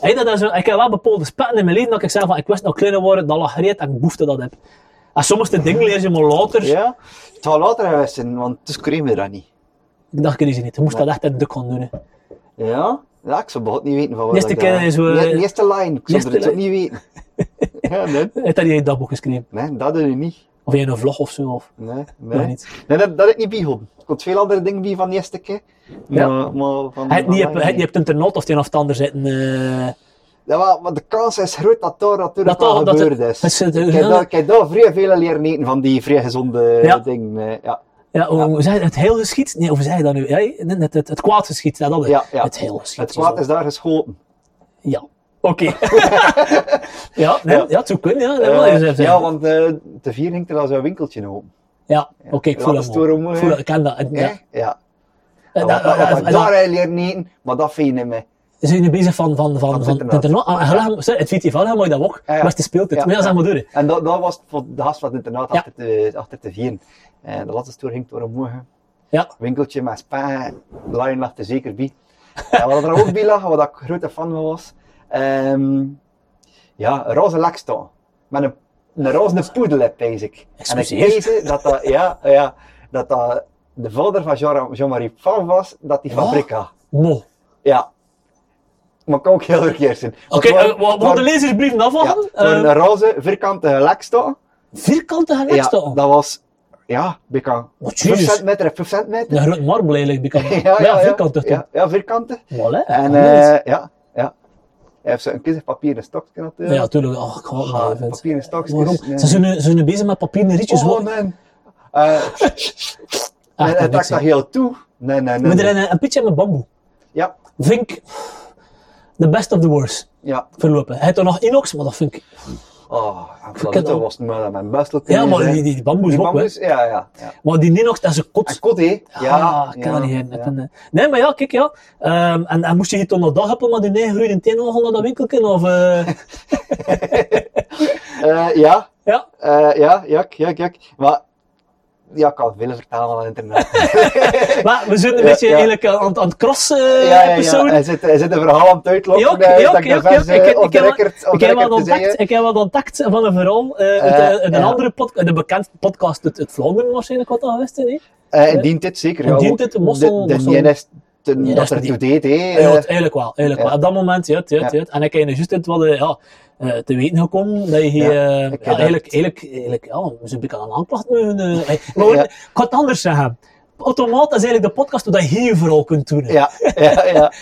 S1: hey, dat is, een- ik heb wel bepaalde spetten in mijn leven dat ik zeg van, ik wist nog kleiner worden, dat lag gereed en ik behoefte dat heb. En soms de dingen leer je maar later,
S2: Ja? Het zal later geweest zijn, want toen screamen we dat niet.
S1: ik dacht, ik ze niet, je moest dat echt in de duk gaan doen. hè.
S2: Ja? Ja, ik zou bijvoorbeeld niet weten van wat
S1: Eerste
S2: ik
S1: keer
S2: daar-
S1: is we-
S2: Nee, de eerste line, ik
S1: Eerste
S2: zou het ook niet
S1: [LAUGHS]
S2: weten. ja, nee.
S1: Heeft dat niet in je dagboek geschreven?
S2: nee, dat doe je niet.
S1: Of in een vlog of zo? Of,
S2: Nee,
S1: nog
S2: nee.
S1: niet.
S2: nee dat, dat heb ik niet bijgehouden. Ik had veel andere dingen bij van de eerste keer.
S1: Ja.
S2: Maar, maar van,
S1: Hij
S2: van
S1: niet
S2: dat
S1: hebt- hij
S2: niet.
S1: niet hebt een ternot of het een of het ander zitten. eh
S2: Ja, maar, maar de kans is groot dat daar natuurlijk
S1: Dat
S2: al
S1: toch- dat-
S2: gebeurd is.
S1: dat ze-
S2: Ik heb daar- Ik heb daar vrij veel leren eten van die vrij gezonde
S1: Ja.
S2: dingen. eh, Ja.
S1: ja, hoe, hoe zei je, het heel geschiet? Nee, hoe zei je dat nu? Ja, het, het, het, het kwaad geschiet, dat dat.
S2: Ja, ja.
S1: Het heel geschiet.
S2: Het kwaad is daar geschoten.
S1: Ja. Oké. [LAUGHS] ja, nee,
S2: Ja.
S1: ja. het zou kunnen, ja. Dat wil je
S2: Eh,
S1: zeggen.
S2: ja, want eh te vier hing er al zo'n winkeltje open.
S1: Ja, oké, ik voel
S2: Laat
S1: dat
S2: de
S1: wel.
S2: stoer om,
S1: Ik voel
S2: hè.
S1: dat, ik ken dat. En,
S2: Ja.
S1: ja.
S2: ja.
S1: En
S2: En
S1: dat- eh,
S2: wat- wat-
S1: en-
S2: wat
S1: en-
S2: ik daar
S1: en-
S2: heb leren eten, maar dat vind je niet meer.
S1: eh, Zijn jullie bezig van, van, van, van,
S2: internaat.
S1: het internaat? Ah, gelukkig, zeg, het festival, hè, maar je dat ook.
S2: Ja, ja.
S1: Maar het speelt het.
S2: Ja,
S1: Maar ja, zeg maar door. hè.
S2: En dat, dat was voor de gast van het internaat
S1: Ja.
S2: achter, te, achter te vieren. En de laatste toer ging door een morgen.
S1: Ja.
S2: Winkeltje met spa, Lion lag er zeker bij. En wat er ook bij lag, wat ik grote fan van was, ehm, ja, een roze lekstaan. Met een, een roze poedelip, basic. En ik
S1: Excuseer.
S2: weet dat dat, ja, ja, dat dat de vader van Jean- Jean-Marie Pfaff was, dat die
S1: Wat?
S2: fabriek had.
S1: Mo.
S2: Ja. Maar kan ook heel verkeerd zijn.
S1: Oké,
S2: Want
S1: eh,
S2: het
S1: we we
S2: waren-
S1: gaan de lezersbrieven
S2: ja,
S1: afwachten.
S2: het waren
S1: Eh,
S2: een roze, vierkante lekstaan.
S1: vierkante
S2: Ja,
S1: gelukstel.
S2: dat was, ja, bijna
S1: Oh,
S2: 5
S1: jezus.
S2: centimeter, 5 centimeter.
S1: Een groot marble eigenlijk.
S2: [LAUGHS]
S1: die kan- Maar Ja, vierkant toch?
S2: Ja, ja, vierkante.
S1: Voilà.
S2: En
S1: Ja,
S2: eh, ja, ja. Hij heeft zo een kist papier en stokje natuurlijk.
S1: Ja, tuurlijk. Oh, ik hou het
S2: Ah,
S1: maar even.
S2: papier en stokjes.
S1: Waarom?
S2: Nee.
S1: Ze zijn nu- ze zijn nu bezig met papieren rietjes.
S2: oh,
S1: hoor.
S2: nee. Eh,
S1: Ah,
S2: en
S1: dat
S2: hij
S1: niks,
S2: trakt
S1: hè.
S2: dat heel toe. Nee, nee, nee.
S1: Met
S2: nee.
S1: erin een, een pitje met bamboe.
S2: Ja,
S1: Vind ik the best of the worst
S2: ja.
S1: verlopen. Hij had er nog inox, maar dat vind ik.
S2: Oh,
S1: ken
S2: dat
S1: al-
S2: was maar mijn bustel.
S1: Ja, maar die, die, die bamboe is ook wel.
S2: Ja, ja. ja.
S1: Maar die inox, dat is een
S2: En
S1: kot.
S2: kot, hè? Ja,
S1: ah, ik
S2: ja,
S1: kan dat niet hebben.
S2: ja.
S1: Ik kan, eh, Nee, maar ja, kijk ja. Ehm, en, en moest je hier toch nog dag hebben, maar die negen groeide teen nog naar dat winkeltje? Of, eh,
S2: Eh, ja,
S1: ja,
S2: eh, ja, ja, ja, ja. Maar, ja, ik kan veel vertalen aan het internet.
S1: [LAUGHS] maar we zijn een
S2: Ja,
S1: beetje
S2: ja.
S1: eigenlijk aan, aan het crossen eh,
S2: ja, ja, ja.
S1: persoon.
S2: Hij zit, hij zit een verhaal aan het uitlokken.
S1: Jok,
S2: eh,
S1: jok,
S2: dat ik
S1: jok,
S2: daar
S1: jok.
S2: vers, eh,
S1: Ik heb-
S2: op de
S1: ik heb-
S2: record- op
S1: Ik
S2: de
S1: heb wat
S2: record te
S1: contact,
S2: zeggen.
S1: ik heb wat contact van een verhaal eh, uit,
S2: Eh,
S1: eh, uit een
S2: ja.
S1: andere podcast, de bekend podcast, het, het Vlaanderen waarschijnlijk wat dat geweest is, hè?
S2: Eh, in die tijd zeker.
S1: In
S2: ja,
S1: die
S2: want
S1: tijd, de mossel-
S2: De, de
S1: mossel-
S2: DNS, ten-
S1: Ja,
S2: dat
S1: dat
S2: er
S1: is
S2: toe
S1: die-
S2: deed, hè.
S1: Ja,
S2: eh,
S1: het- eigenlijk wel, eigenlijk
S2: ja.
S1: wel. Op dat moment, ja, het- ja, het-
S2: Ja.
S1: ja. het. En ik heb juist het wat eh, ja, eh, te weten gekomen dat je hier, eh, ja,
S2: dat.
S1: eigenlijk, eigenlijk, eigenlijk, ja, we zijn een beetje aan de aanklacht mogen,
S2: [LAUGHS]
S1: eh, eh, maar
S2: Ja.
S1: ik ga het anders zeggen. Automaat is eigenlijk de podcast waar je hier vooral kunt doen. hè.
S2: Ja,
S1: [LAUGHS]
S2: ja, ja.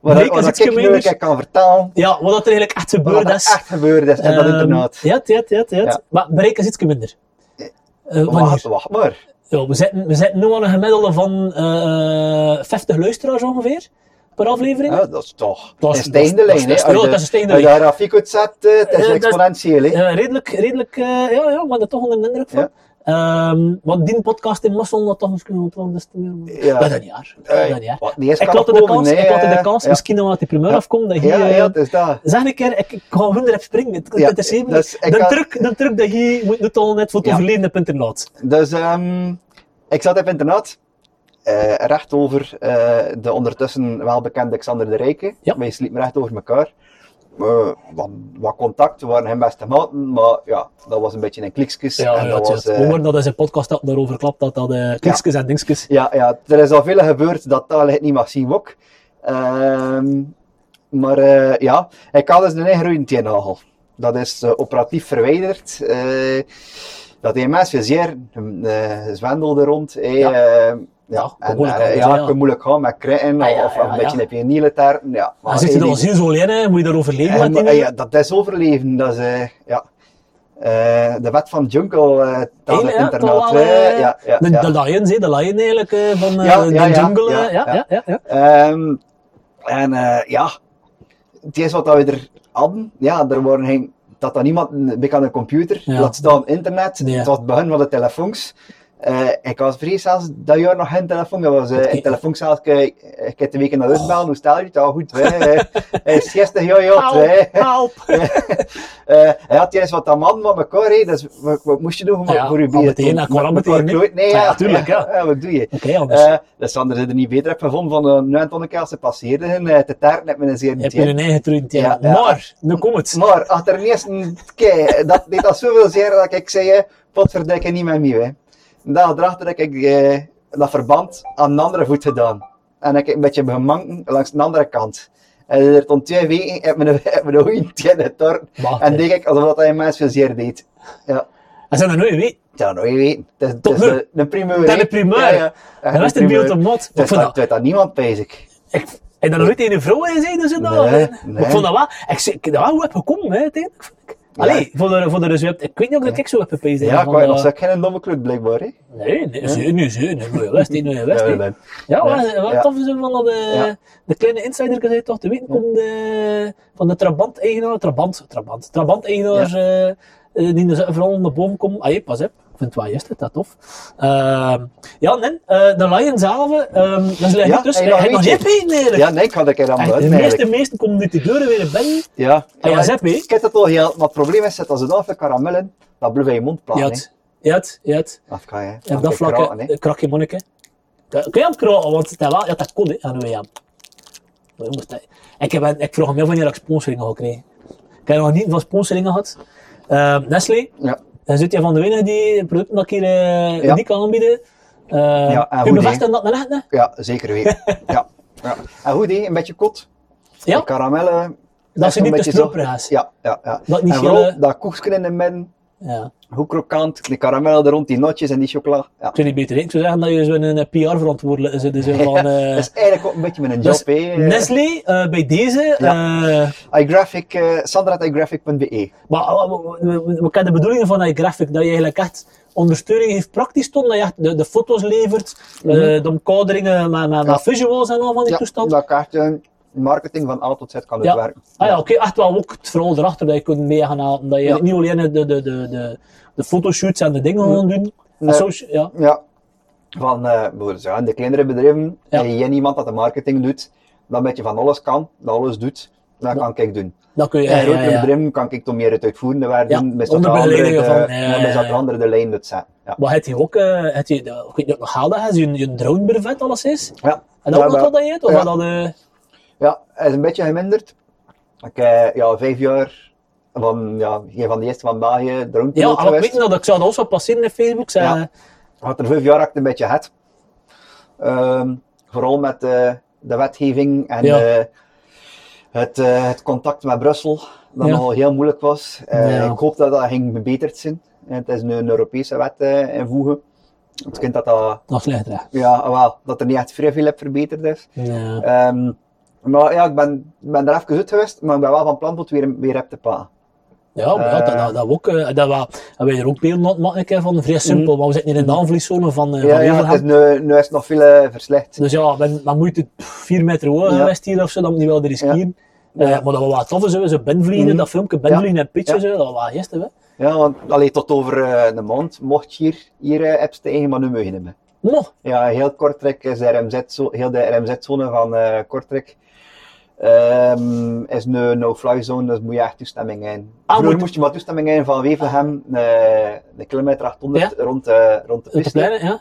S2: Maar
S1: Bleek
S2: dat- wat
S1: is
S2: dat
S1: ietsje
S2: ik nu
S1: minder.
S2: ook kan vertalen,
S1: Ja, wat dat er eigenlijk echt
S2: wat
S1: gebeurd
S2: er
S1: is.
S2: echt gebeurd is in dat
S1: Ehm,
S2: internaat.
S1: Ja, het- ja, het- ja, het- ja. het.
S2: Ja. Oh,
S1: Maar bereik is iets minder. Eh,
S2: Wacht,
S1: wanneer?
S2: wacht maar.
S1: Ja, we, zitten, we zitten nu aan een gemiddelde van eh, eh, 50 luisteraars ongeveer per aflevering.
S2: Ja, dat is toch
S1: Dat is-
S2: een stijgende
S1: dat is- dat
S2: lijn. hè.
S1: is-
S2: Als
S1: ja,
S2: je-
S1: dat is een stijgende
S2: Als je de grafiek uitzet, eh, het
S1: Eh,
S2: is
S1: dat is-
S2: exponentieel. hè.
S1: Eh, redelijk, redelijk eh, ja, ja, maar daar toch onder de indruk van.
S2: Ja.
S1: Ehm, want die podcast in Mossel had toch misschien wat anders te doen.
S2: Ja.
S1: Dat is niet waar. Dat is niet
S2: Eh,
S1: waar.
S2: wat niet eens
S1: Oh, Ik
S2: kan
S1: laat de
S2: komen,
S1: kans,
S2: hè,
S1: ik laat de
S2: eh,
S1: kans
S2: ja.
S1: misschien nog wat die primeur
S2: Ja.
S1: afkomt. Dat hier,
S2: Ja,
S1: eh,
S2: ja, het is dat.
S1: Zeg een keer, ik, ik ga gewoon erop springen. Het, het
S2: Ja,
S1: interesseert me
S2: dat
S1: niet.
S2: is- ik
S1: de,
S2: kan-
S1: truc, de truc dat je moet het al net voor het
S2: Ja.
S1: overleden hebt internaat.
S2: Dus ehm, ik zat op internaat, eh, recht over eh, de ondertussen welbekende Xander de Rijke.
S1: Ja.
S2: Wij sliepen recht over elkaar. Eh, wat, wat contact, we waren geen beste maten, maar ja, dat was een beetje een klikskus.
S1: Ja,
S2: En
S1: ja,
S2: dat
S1: het
S2: was,
S1: is- we
S2: eh,
S1: horen dat in zijn podcast dat daarover klapt, dat dat eh kliksjes en dingetjes.
S2: ja, ja, er is al veel gebeurd dat taal het niet mag zien wok. Ehm, maar eh, ja, ik had dus een ingroeiende teennagel. Dat is eh, operatief verwijderd. eh, dat heeft mensen zeer eh zwendelde rond. eh,
S1: Ja.
S2: eh, ja,
S1: Ja,
S2: en,
S1: moeilijk
S2: eh,
S1: aan,
S2: ja,
S1: ja.
S2: het kan moeilijk gaan met kritten
S1: Ah, ja,
S2: of, of
S1: ja,
S2: een beetje
S1: ja.
S2: een pioniele taart. Ja, maar
S1: Dan zit je er
S2: eh,
S1: al
S2: die-
S1: ziel zo alleen, hè. moet je daar overleven
S2: eh,
S1: met die
S2: maar, eh, ja, dat is overleven. Dat is, eh, ja. Eh, de wet van Jungle, eh dat
S1: Hele,
S2: is
S1: ja, toch
S2: het internaat.
S1: wel,
S2: eh,
S1: eh,
S2: ja, ja,
S1: de,
S2: ja.
S1: de lions, hè, de lion eigenlijk, eh, van eh,
S2: Ja,
S1: de
S2: ja, ja,
S1: jungle.
S2: ja,
S1: eh, ja,
S2: ja.
S1: ja, ja, ja.
S2: Ehm, en eh, Ehm, ja, het is wat dat we er hadden, ja, er waren geen, dat had niemand bij aan de computer,
S1: Ja.
S2: laat staan internet,
S1: Ja.
S2: het was het begin van de telefoons. Eh, ik was vrij zelfs dat jaar nog geen telefoon, dat was eh, een telefoon zelfs, ik ik heb de week naar
S1: Oh.
S2: uitbellen, hoe stel je het? Ja, goed, hè, eh, hij is 60 jaar joh, hè. [LAUGHS]
S1: help!
S2: Eh, hij had juist wat dat man van elkaar, hè, dus wat, wat moest je doen om
S1: Ja,
S2: voor je
S1: al meteen, dat kwam al
S2: Met- met
S1: meteen, hè. Ah,
S2: kloot? Nee,
S1: Ja,
S2: ja,
S1: tuurlijk, ja.
S2: wat doe je?
S1: Oké, anders.
S2: Eh dus Sander zit er niet beter heb gevonden van een uh, keer als ze passeerden en eh, te taart net met een zeer
S1: heb je een eigen truintje.
S2: Ja, ja.
S1: Maar, nu komt het.
S2: Maar achter de eerste keer, dat deed dat zoveel zeer dat ik zei, eh, potverdikke niet met mij. Hè. Daar erachter heb ik eh, dat verband aan de andere voet gedaan. En ik heb een beetje gemanken langs de andere kant. En er stond twee weken, heb mijn, [LAUGHS] heb mijn hoeien tegen het torn.
S1: Maar,
S2: En
S1: eh,
S2: denk ik alsof dat hij mensen veel zeer deed. Ja,
S1: dat zijn er nooit weet.
S2: dat zou nooit weten. Het is, het
S1: Tot
S2: is
S1: nu.
S2: de, de primeur.
S1: Dat is
S2: hè.
S1: de primeur.
S2: Ja, ja. Echt
S1: Dat
S2: een
S1: was het beeld
S2: primeur.
S1: op mot.
S2: Het
S1: Ik vond
S2: is dat-
S1: dat,
S2: het weet dat niemand bezig.
S1: ik, heb daar nooit een vrouw in gezien, dus dat.
S2: Nee,
S1: Maar Ik
S2: nee.
S1: vond dat wel, ik zei, ik- dat wel goed heb gekomen, hè, uiteindelijk. vond ik. Allee, voor de, voor de resultaat. Ik weet niet of dat ik zo heb gepijst.
S2: Ja,
S1: van
S2: ik
S1: eh,
S2: wou
S1: dat-
S2: nog zeggen, geen domme club blijkbaar. Hè?
S1: Nee, nee, zeer, nee, zeer. Nee, mooie west, nee, mooie west.
S2: Ja,
S1: hè.
S2: nee.
S1: Ja,
S2: Ja.
S1: wat, wat
S2: Ja.
S1: tof is om van de,
S2: Ja.
S1: de kleine insider gezegd toch te weten van de, van de Trabant-eigenaar, Trabant, Trabant, Trabant-eigenaar, eh eh, die er vooral onder boven komen. Ah, je, pas op. Ik vind het wel juist, dat is tof. Ehm, ja, nee, eh, de Lion zelf, ehm dat is
S2: Ja,
S1: leuk dus.
S2: en
S1: Hij
S2: nog
S1: heeft nog
S2: eentje.
S1: niet weten eigenlijk.
S2: Ja, nee, ik had er keer aan
S1: Echt, de
S2: buiten
S1: meeste
S2: eigenlijk.
S1: meesten komen uit de deuren weer binnen.
S2: Ja.
S1: Ah, ja,
S2: Maar
S1: zet mee.
S2: Ik heb het al heel, maar het probleem is, dat als het af de karamel in, dat blijft in je mond plakken.
S1: Ja,
S2: hè.
S1: het, ja, het, ja, het.
S2: Dat kan je.
S1: En op dat vlak
S2: kraken, hè.
S1: eh, krak je monniken. Kun je hem kraken? Want dat, wel, ja, dat kon, hè, aan de WM. Maar jongens, dat- Ik, heb, ik vroeg hem heel wanneer ik sponsoringen had gekregen. Ik heb nog niet van sponsoringen gehad. Ehm Nestlé,
S2: Ja.
S1: dan zit je van de wenigen die producten dat ik hier eh,
S2: Ja.
S1: niet kan aanbieden. Eh
S2: Ja,
S1: kun
S2: en
S1: je
S2: goed,
S1: bevestigen dat naar echt, hè?
S2: ja,
S1: [LAUGHS]
S2: zeker weten. ja. ja. En goed, hè, een beetje kot.
S1: Ja.
S2: Die karamellen.
S1: Dat ze
S2: een
S1: niet te
S2: beetje zo-
S1: stroperig is.
S2: Ja, ja, ja.
S1: Dat niet
S2: en
S1: veel,
S2: vooral
S1: eh,
S2: dat koekje in de midden,
S1: Ja.
S2: goed krokant, de karamel er rond, die notjes en die chocola. Ja.
S1: Ik zou niet beter weten. Ik zou zeggen dat je zo'n eh, PR verantwoordelijk is. in
S2: [LAUGHS]
S1: de zin van, eh,
S2: Dat is eigenlijk ook een beetje mijn job,
S1: dus
S2: hè.
S1: Nestlé, eh, bij deze. eh,
S2: iGraphic, eh, sandra@igraphic.be.
S1: Maar eh, we- we- we- we kennen de bedoeling van die graphic, dat je eigenlijk echt ondersteuning geeft praktisch toen, dat je echt de, de foto's levert, eh, de omkaderingen met, met, met
S2: Mhm. Ja.
S1: visuals en al van die
S2: Ja,
S1: toestand.
S2: dat kaartje, marketing van A tot Z kan
S1: Ja.
S2: het werken.
S1: Ah ja, oké, echt wel ook het verhaal erachter dat je kunt mee gaan helpen, dat je
S2: Ja. Mhm.
S1: niet alleen de, de, de, de, de fotoshoots en de dingen gaan doen.
S2: Nee.
S1: En zo, ja.
S2: Ja. Van eh, bijvoorbeeld ja, in de kleinere bedrijven,
S1: Ja.
S2: heb je iemand dat de marketing doet, dat een beetje van alles kan, dat alles doet, dat kan ik doen.
S1: Dat kun je,
S2: In
S1: ja, ja,
S2: grotere
S1: ja.
S2: bedrijven kan ik dan meer het uitvoerende werk
S1: Ja,
S2: doen, best dat
S1: onder
S2: de andere
S1: begeleiding
S2: de-
S1: van, ja, ja,
S2: ja, best dat
S1: ja.
S2: de andere de lijn doet zijn. Ja.
S1: Maar heb je ook, eh, heb je, eh, ik weet niet of nog haalde, heb je een dronebervet alles is?
S2: Ja.
S1: En dat
S2: Ja,
S1: ook nog
S2: dat-
S1: wat dat je hebt? Of
S2: ja.
S1: dat, eh,
S2: Ja, hij is een beetje geminderd. Ik heb ja, vijf jaar van, ja, een van de eerste van België, drone
S1: ja, maar ah, ik
S2: geweest.
S1: weet niet dat ik zou dat ook zo passeren in Facebook. eh, Zei,
S2: Ja. had er vijf jaar achter een beetje het. Ehm, vooral met eh, de wetgeving en
S1: Ja.
S2: eh, het, eh, het contact met Brussel, dat
S1: Ja.
S2: nogal heel moeilijk was. Eh,
S1: Ja.
S2: Ik hoop dat dat ging verbeterd zijn. Eh, Het is nu een Europese wet eh, invoegen. Het kind dat, dat,
S1: Nog slechter. hè.
S2: ja, ah, wel, dat er niet echt vrij veel heb verbeterd is.
S1: Ja.
S2: Ehm, maar ja, ik ben, ben er even uit geweest, maar ik ben wel van plan om het weer, weer op te pakken.
S1: Ja, maar ja, dat,
S2: Eh.
S1: dat, dat we ook, eh, dat we, dat wij er ook beelden aan het maken hè, van vrij simpel, maar we zitten hier in de aanvlieszone van, eh,
S2: Mm. Ja,
S1: van
S2: ja, het is
S1: Overhem.
S2: nu, nu is het nog veel eh, verslecht.
S1: Dus ja, ben, dan moet je het vier meter hoog
S2: Ja.
S1: geweest hier of zo, dan moet je wel de riskeren.
S2: Ja.
S1: Eh, maar dat was wel tof, zo, zo benvliegen,
S2: Mhm.
S1: dat filmpje benvliegen en pitchen,
S2: Ja.
S1: zo, dat was gisteren. Hè.
S2: Ja, want allee, tot over eh, een maand mocht je hier, hier eh, apps tegen, maar nu mag je niet meer.
S1: Nog,
S2: Ja, heel Kortrijk is de RMZ, zo- heel de RMZ-zone van eh Kortrijk ehm, is nu een no-fly zone, dus moet je echt toestemming in.
S1: Ah,
S2: Vroeger
S1: moet-
S2: moest je maar toestemming in van Wevelgem, eh een kilometer 800 rond, de
S1: op
S2: rond de
S1: de
S2: piste.
S1: pleinen, ja.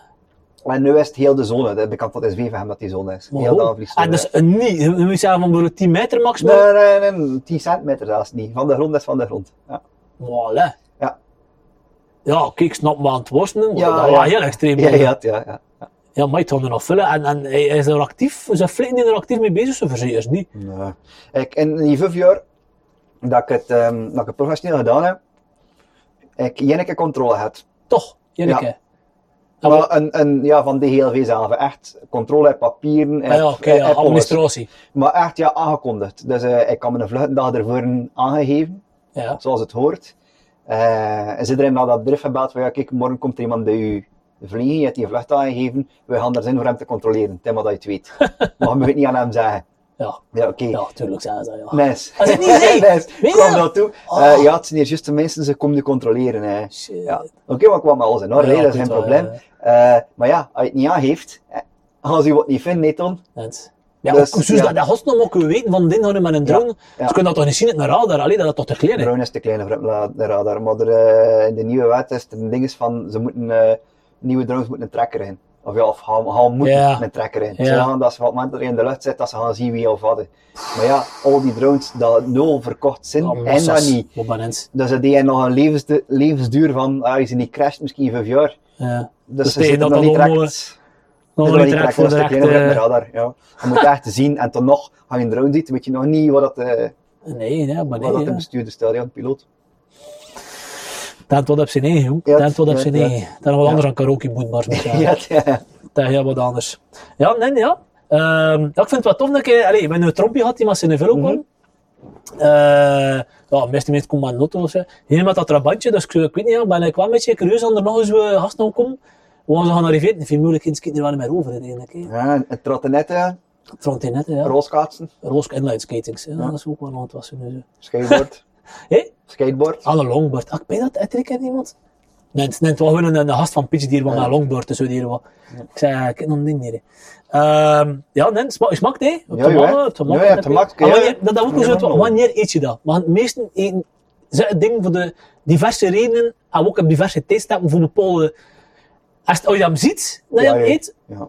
S2: En nu is het heel de zone, de bekend dat is Wevelgem dat die zone is.
S1: Maar
S2: heel de
S1: hoe?
S2: aanvliegzone.
S1: En dus een niet, je moet zeggen van bijvoorbeeld 10 meter max, maar...
S2: Nee, nee, nee, nee, 10 centimeter zelfs niet. Van de grond is van de grond. Ja,
S1: Voilà.
S2: Ja.
S1: Ja, kijk, ik snap me aan het worstelen, maar
S2: Ja,
S1: dat was
S2: ja.
S1: heel extreem.
S2: ja, ja. ja, ja.
S1: ja maar het gaan er nog vullen. En, en hij is er actief, zijn flitten die er actief mee bezig, zijn verzekers niet.
S2: Nee. Ik, in die vijf jaar dat ik het, ehm, dat ik het professioneel gedaan heb, ik één keer controle had.
S1: Toch, Janneke.
S2: Ja.
S1: Ah,
S2: Wel, een, een, ja, van DGLV zelf. Echt controle op papieren.
S1: Ah, ja,
S2: op-
S1: oké, ja,
S2: op alles.
S1: administratie.
S2: Maar echt ja, aangekondigd. Dus eh, ik had mijn vluchtdag ervoor aangegeven,
S1: Ja.
S2: zoals het hoort. Eh, en ze hebben naar dat drift gebeld van ja, kijk, morgen komt er iemand bij u vliegen,
S1: [LAUGHS]
S2: je hebt die vlucht aangegeven, we gaan er zijn voor hem te controleren, het is maar dat je het weet. Maar je moet het niet aan hem zeggen.
S1: Ja,
S2: Ja, oké.
S1: ja, tuurlijk zijn ze dat, ja.
S2: Nice.
S1: Als
S2: [LAUGHS]
S1: ik niet zie. Weet
S2: nice.
S1: je
S2: Kwam
S1: wel?
S2: dat toe.
S1: Oh.
S2: Eh, ja, het zijn hier juist de mensen, ze komen je controleren. Hè.
S1: Shit.
S2: Ja. Oké, maar kwam alles in orde,
S1: Ja,
S2: hè, dat
S1: goed,
S2: is geen
S1: wel,
S2: probleem.
S1: ja.
S2: Eh, maar ja, als je het niet aangeeft, eh, gaan ze je wat niet vinden, hè, Ton.
S1: Want- Ja,
S2: Dus,
S1: ook, zus,
S2: ja.
S1: dat, dat gasten nog kunnen weten van dit gaan met een drone.
S2: ja.
S1: Ze kunnen dat toch niet zien in een radar, alleen dat dat toch te klein
S2: De
S1: is.
S2: drone is te klein voor op la- de radar, maar er, eh, in de nieuwe wet is het een ding is van, ze moeten, eh, nieuwe drones moeten een tracker in. Of ja, of gaan, gaan moeten
S1: Ja.
S2: een tracker in.
S1: Ja.
S2: Ze gaan dat ze wat minder in de lucht zitten, dat ze gaan zien wie of wat. Maar ja, al die drones, dat nul verkocht zijn,
S1: Ja,
S2: en dat
S1: massas,
S2: niet.
S1: Abonnees.
S2: Dus dat heeft nog een levensdu- levensduur van, ah, als je niet crasht, misschien vijf jaar.
S1: Ja.
S2: Dus,
S1: Dus
S2: ze
S1: tegen dat
S2: zitten nog
S1: dat
S2: niet
S1: allemaal-
S2: direct-
S1: Nog
S2: ze
S1: niet
S2: zitten
S1: direct
S2: nog
S1: voor
S2: niet
S1: direct,
S2: direct voor de kleine
S1: eh,
S2: op de radar. Ja. Je moet echt zien, en dan nog, als je een drone ziet, weet je nog niet wat dat, eh,
S1: Nee, nee, maar
S2: wat
S1: nee.
S2: dat de
S1: ja.
S2: bestuurder stelt, ja, de piloot. [LAUGHS]
S1: Dat wordt op zijn eigen, jong.
S2: Ja,
S1: Dat wordt op
S2: ja,
S1: zijn
S2: ja.
S1: eigen. Dat is wat anders dan karaoke moet, maar met, eh,
S2: [LAUGHS] Ja, ja.
S1: dat is heel wat anders. Ja, nee, nee, ja. Ehm, ja, ik vind het wel tof dat ik, eh, allee, ik ben een trompje had die maar in de velo kwam. Eh, ja, de meeste mensen komen maar een auto of zo. Hier met dat trabantje, dus ik, ik weet niet, ja, ik ben ik wel een beetje curieus aan er nog eens eh, gasten om komen. Want ze gaan arriveren, veel moeilijk in er wel niet meer over in eigenlijk. hè.
S2: Ja, een trottinette, ja.
S1: Trontinetten, ja.
S2: rolschaatsen,
S1: Roos inline skatings, ja,
S2: Ja.
S1: dat is ook wel aan het wassen. nu, zo.
S2: skateboard, [LAUGHS]
S1: Hé?
S2: skateboard.
S1: Alle longboard. Ah, ik ben dat uitdruk aan iemand. Nee, het nee, het was gewoon een, een gast van Pitch die hier was
S2: Ja.
S1: naar longboard, dus die hier was. Ik zei, "Ah, ik heb nog niet hier. Ehm, ja, nee, sma smaakt hè? Op
S2: Ja,
S1: de
S2: ja.
S1: mannen, op de
S2: Ja,
S1: mannen.
S2: ja, op de mak,
S1: Ah,
S2: ja.
S1: wanneer, dat, dat moet ik
S2: Ja,
S1: zo
S2: ja.
S1: uit, wanneer eet je dat? Want de meesten eten, ze het ding voor de diverse redenen, en ook op diverse tijdstappen voor bepaalde... Als, het- als je hem ziet, dat je
S2: Ja,
S1: hem
S2: ja.
S1: eet,
S2: Ja.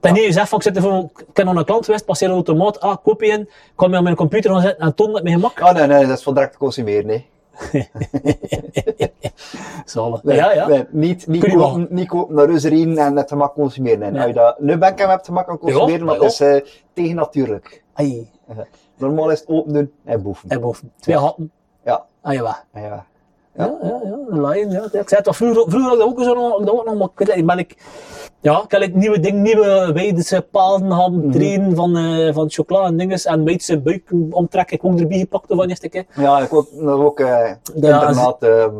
S1: dan neem je zegt van, ik zit er voor, ik ken nog een klant geweest, passeer een automaat, ah, kopie in, kom je aan mijn computer gaan zetten en toon met mijn gemak.
S2: Oh nee, nee, dat is voor direct te consumeren, nee.
S1: Zalig.
S2: Nee,
S1: ja, ja.
S2: nee, niet, niet,
S1: Kun je
S2: kopen, niet kopen naar reuzerin en het gemak consumeren. Nee.
S1: Nee.
S2: Als je dat nu ben ik hem hebt gemak aan consumeren,
S1: Ja,
S2: want
S1: ja.
S2: dat is eh, tegennatuurlijk.
S1: Ai,
S2: Normaal is het open doen en boeven.
S1: en boven. Twee happen.
S2: Ja.
S1: Ah, jawel.
S2: Ja.
S1: Ja, ja, ja. Een lion, ja. Ik zei het wel, vroeger, vroeger had ik dat ook zo nog, dat ook nog maar ik weet het niet, ben ik, ja, ik heb like nieuwe dingen, nieuwe Weidse paden gaan
S2: Mhm.
S1: trainen van, eh, van chocola en dinges en Weidse buik omtrek, ik ook erbij gepakt van de eerste keer.
S2: ja, ik ook, dat ook eh internaat, ehm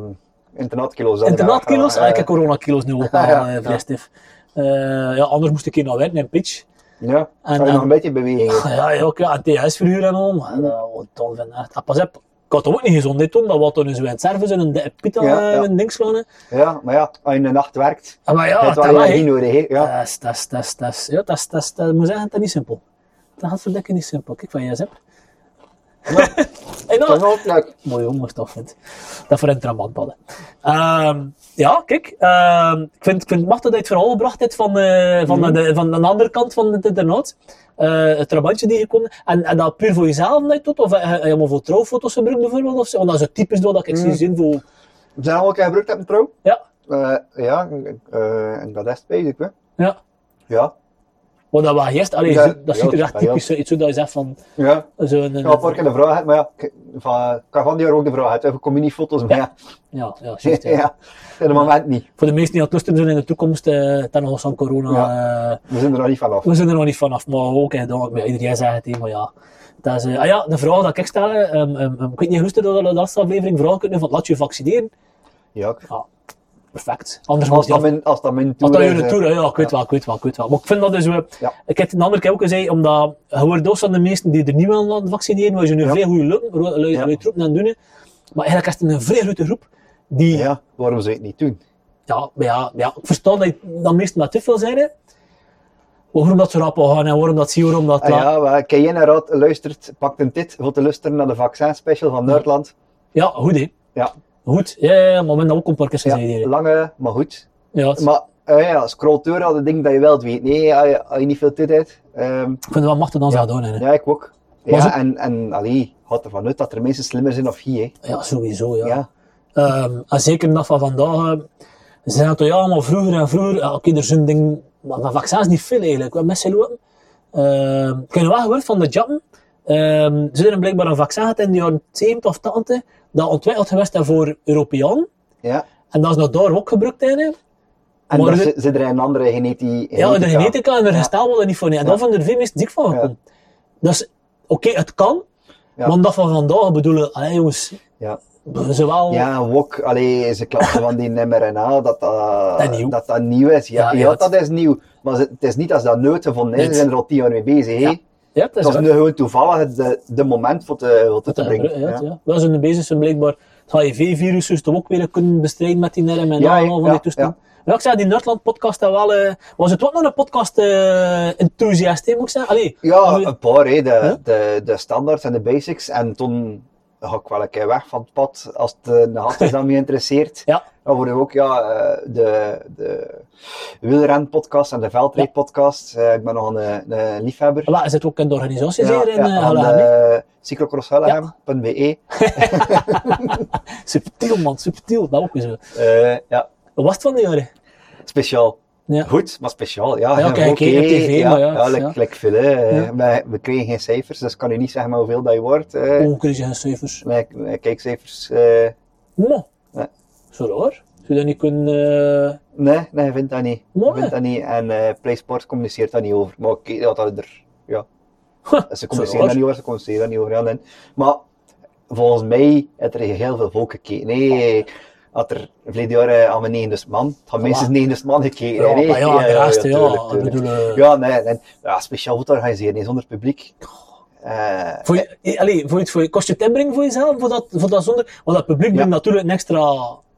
S2: internaatkilo's. dat
S1: Internaatkilo's,
S2: ik
S1: ah,
S2: daar
S1: ik heb
S2: wegga-
S1: coronakilo's nu ook
S2: [LAUGHS] Ja,
S1: al,
S2: ja,
S1: eh,
S2: ja.
S1: vrij stief. Eh, ja, anders moest ik hier naar werken in pitch.
S2: eh, Ja,
S1: En-
S2: zou je
S1: en-
S2: nog een beetje beweging
S1: Ah, Ja, ja, ook, ja, en TS vroeger en al, maar dat was tof en echt. Ah, Pas op, ik had dat ook niet gezond dit toen, dat was toen een zwijn dus service en een dikke pita
S2: Ja, ja.
S1: eh, en ding slaan. hè.
S2: Ja, maar ja, als je in de nacht werkt,
S1: Ah, Maar ja,
S2: heb je
S1: dat
S2: wel
S1: was, hè.
S2: energie nodig. hè. Ja.
S1: Dat is, dat is, dat is, dat is, ja, dat is, dat is, dat moet zeggen, dat is niet simpel. Dat gaat verdekken niet simpel. Kijk wat jij zegt. [LAUGHS] en
S2: Dat
S1: dan,
S2: is ook leuk.
S1: mooi jongens, toch vindt. Dat voor een tramant padden. Ehm, ja, kijk, ehm, ik vind, ik vind het machtig dat je het verhaal gebracht hebt van, eh, van,
S2: Mhm.
S1: de, van de andere kant van het internaat. Eh, het trabantje die je kon. En, en dat puur voor jezelf dat je doet? Of eh, eh, helemaal voor trouwfoto's gebruikt bijvoorbeeld? Of zo? Want dat is het typisch dat ik
S2: Mhm.
S1: zie zin voor...
S2: We zijn allemaal gebruikt hebben trouw.
S1: Ja,
S2: Eh, ja, eh, en dat is het basic, hè.
S1: ja.
S2: Ja.
S1: Want dat was eerst, allee,
S2: Ja,
S1: zo- dat ziet er
S2: ja,
S1: echt typisch
S2: ja.
S1: uit, zo dat je zegt van...
S2: Ja.
S1: Zo'n,
S2: Ik had een paar keer de vraag gehad, maar ja, ik- van, ik had van die jaar ook de vraag gehad. hè. Ik kom niet foto's, maar [LAUGHS] ja.
S1: Ja, ja,
S2: Ja,
S1: juist, ja.
S2: in het moment niet.
S1: Voor de mensen die aan het lusten zijn in de toekomst, eh ten nog van corona, eh,
S2: We zijn er nog niet vanaf.
S1: we zijn er nog niet vanaf. Maar ook, eh, dan, ja, iedereen zegt het, hè, maar ja. Dat is, eh, ah ja, de vraag dat ik stel, eh, ehm, ehm, ehm, ik weet niet hoe dat de laatste aflevering vragen kunnen van laat je vaccineren.
S2: Ja, ik-
S1: Ja, perfect. Anders moet
S2: als
S1: je
S2: dat
S1: af...
S2: mijn, als dat mijn tour
S1: Als dat
S2: is,
S1: jullie
S2: eh,
S1: toer, ja, ik weet wel, ik weet wel, ik weet wel. Maar ik vind dat dus, we,
S2: Ja.
S1: ik heb het een andere keer ook gezegd, omdat je hoort dus van de meesten die er niet aan laten vaccineren, want je nu
S2: Ja.
S1: vrij goede lu- ru- lu-
S2: Ja.
S1: lu- troep aan het doen. hè. Maar eigenlijk is het een vrij grote groep die
S2: Ja, waarom zou je het niet doen?
S1: ja, maar ja, maar ja, ik versta dat, dat meestal te veel zijn. Hè. Waarom dat zo rap al gaan en waarom dat zie, waarom dat
S2: Ah,
S1: laat.
S2: ja, maar Ken jij naar Raad luistert, pakt een tit voor te luisteren naar de vaccinspecial van Noordland.
S1: Ja, goed hè.
S2: Ja,
S1: Goed, ja, ja, ja, maar we hebben dat ook een paar keer
S2: ja,
S1: gezegd. hier, hè.
S2: lange, maar goed.
S1: Ja, het-
S2: Maar eh, ja, scroll door al de dingen dat je wel weet. Nee, als je, als je niet veel tijd hebt. ehm,
S1: ik vind het wel machtig dan ze dat doen. Hè.
S2: ja, ik ook.
S1: Maar
S2: Ja,
S1: ze-
S2: en, en allee, gaat ervan uit dat er mensen slimmer zijn of hier. hè.
S1: Ja, sowieso. Ja.
S2: Ja.
S1: Ehm, en zeker de dag van vandaag. eh, ze zijn toch ja, allemaal vroeger en vroeger. ja, Oké, er zijn dingen. Maar van vaccins niet veel eigenlijk. Wat mensen lopen. Ehm, ik heb wel gehoord van de Japan. Ehm ze hebben blijkbaar een vaccin gehad in de jaren 70 of 80. Dat ontwikkeld geweest is voor Europeanen.
S2: ja.
S1: En dat is nog daar ook gebruikt eigenlijk.
S2: En
S1: Maar
S2: dan
S1: de-
S2: zi- zit er een andere geneti
S1: Ja, de
S2: genetica.
S1: genetica en de gestel worden niet voor niet. En daar vinden er veel mensen dik van gekomen. Dus, oké, het kan.
S2: Ja.
S1: Maar dat van vandaag bedoelen, allee jongens,
S2: Ja.
S1: ze wel...
S2: Ja, wok, allee, ze klappen van die mRNA dat dat,
S1: Dat nieuw.
S2: dat dat nieuw is. Ja,
S1: Ja,
S2: ja,
S1: ja, het-
S2: dat is nieuw. Maar ze- het is niet als dat nooit gevonden is,
S1: Net.
S2: ze zijn er al tien jaar mee bezig. hè.
S1: Ja. Ja, dat is
S2: Dat is
S1: waar.
S2: nu gewoon toevallig het de, de moment voor te, voor te,
S1: Ja,
S2: brengen.
S1: ja, ja. Wel zijn bezig zijn blijkbaar het HIV-virus toch ook weer kunnen bestrijden met die RMNA
S2: Ja,
S1: en al van
S2: ja,
S1: die toestanden. Ja, ik zei, die Nerdland-podcast dat wel... eh, was het ook nog een podcast-enthousiast, moet ik zeggen? Allee,
S2: Ja,
S1: nu-
S2: een paar. hè. De,
S1: Ja?
S2: de, de standaards en de basics. En toen ga ik wel een keer weg van het pad als het eh, de gast is dat me interesseert.
S1: [LAUGHS] Ja.
S2: Dan worden we ook ja, eh, de, de wielrenpodcast en de veldrijdpodcast. Eh, Ik ben nog een, eh, een liefhebber.
S1: voilà, is het ook in de organisatie zeer in
S2: ja,
S1: eh,
S2: aan
S1: Haarlem, hè?
S2: de cyclocrosshellegem.be.
S1: Subtiel, man, subtiel. Dat ook weer zo.
S2: Eh, ja,
S1: Wat was het van de jaren?
S2: speciaal.
S1: Ja.
S2: Goed, maar speciaal. Ja,
S1: Ja,
S2: ja,
S1: kijk,
S2: oké,
S1: kijk op tv,
S2: ja,
S1: maar ja,
S2: ja,
S1: ja.
S2: like- like veel, hè. Eh,
S1: Ja.
S2: Maar we kregen geen cijfers, dus ik kan u niet zeggen maar hoeveel dat je wordt. eh.
S1: Hoe kun je geen cijfers?
S2: Nee, k- nee, kijkcijfers. eh,
S1: Mo.
S2: Ja.
S1: Zo raar. Zou je dat niet kunnen... eh,
S2: nee, nee, ik vind dat niet. Ik
S1: Mooi.
S2: vind dat niet. En eh PlaySport communiceert dat niet over. Maar oké, dat dat er. Ja. Ze communiceren
S1: raar.
S2: dat niet over, ze communiceren dat niet over. Ja, nee. Maar volgens mij heeft er heel veel volk gekeken. Nee, had er verleden jaar eh, aan mijn 90 man. Had minstens 90 man gekeken.
S1: ja,
S2: nee.
S1: maar ja, de rest, ja.
S2: tuurlijk,
S1: ik
S2: tuurlijk.
S1: bedoel... eh,
S2: Ja, nee, nee. Ja, speciaal goed organiseren, nee, zonder publiek. Eh,
S1: Voor je, eh, allee, voor je, voor je, kost je het inbrengen voor jezelf? Voor dat, voor dat zonder, want dat publiek brengt natuurlijk een extra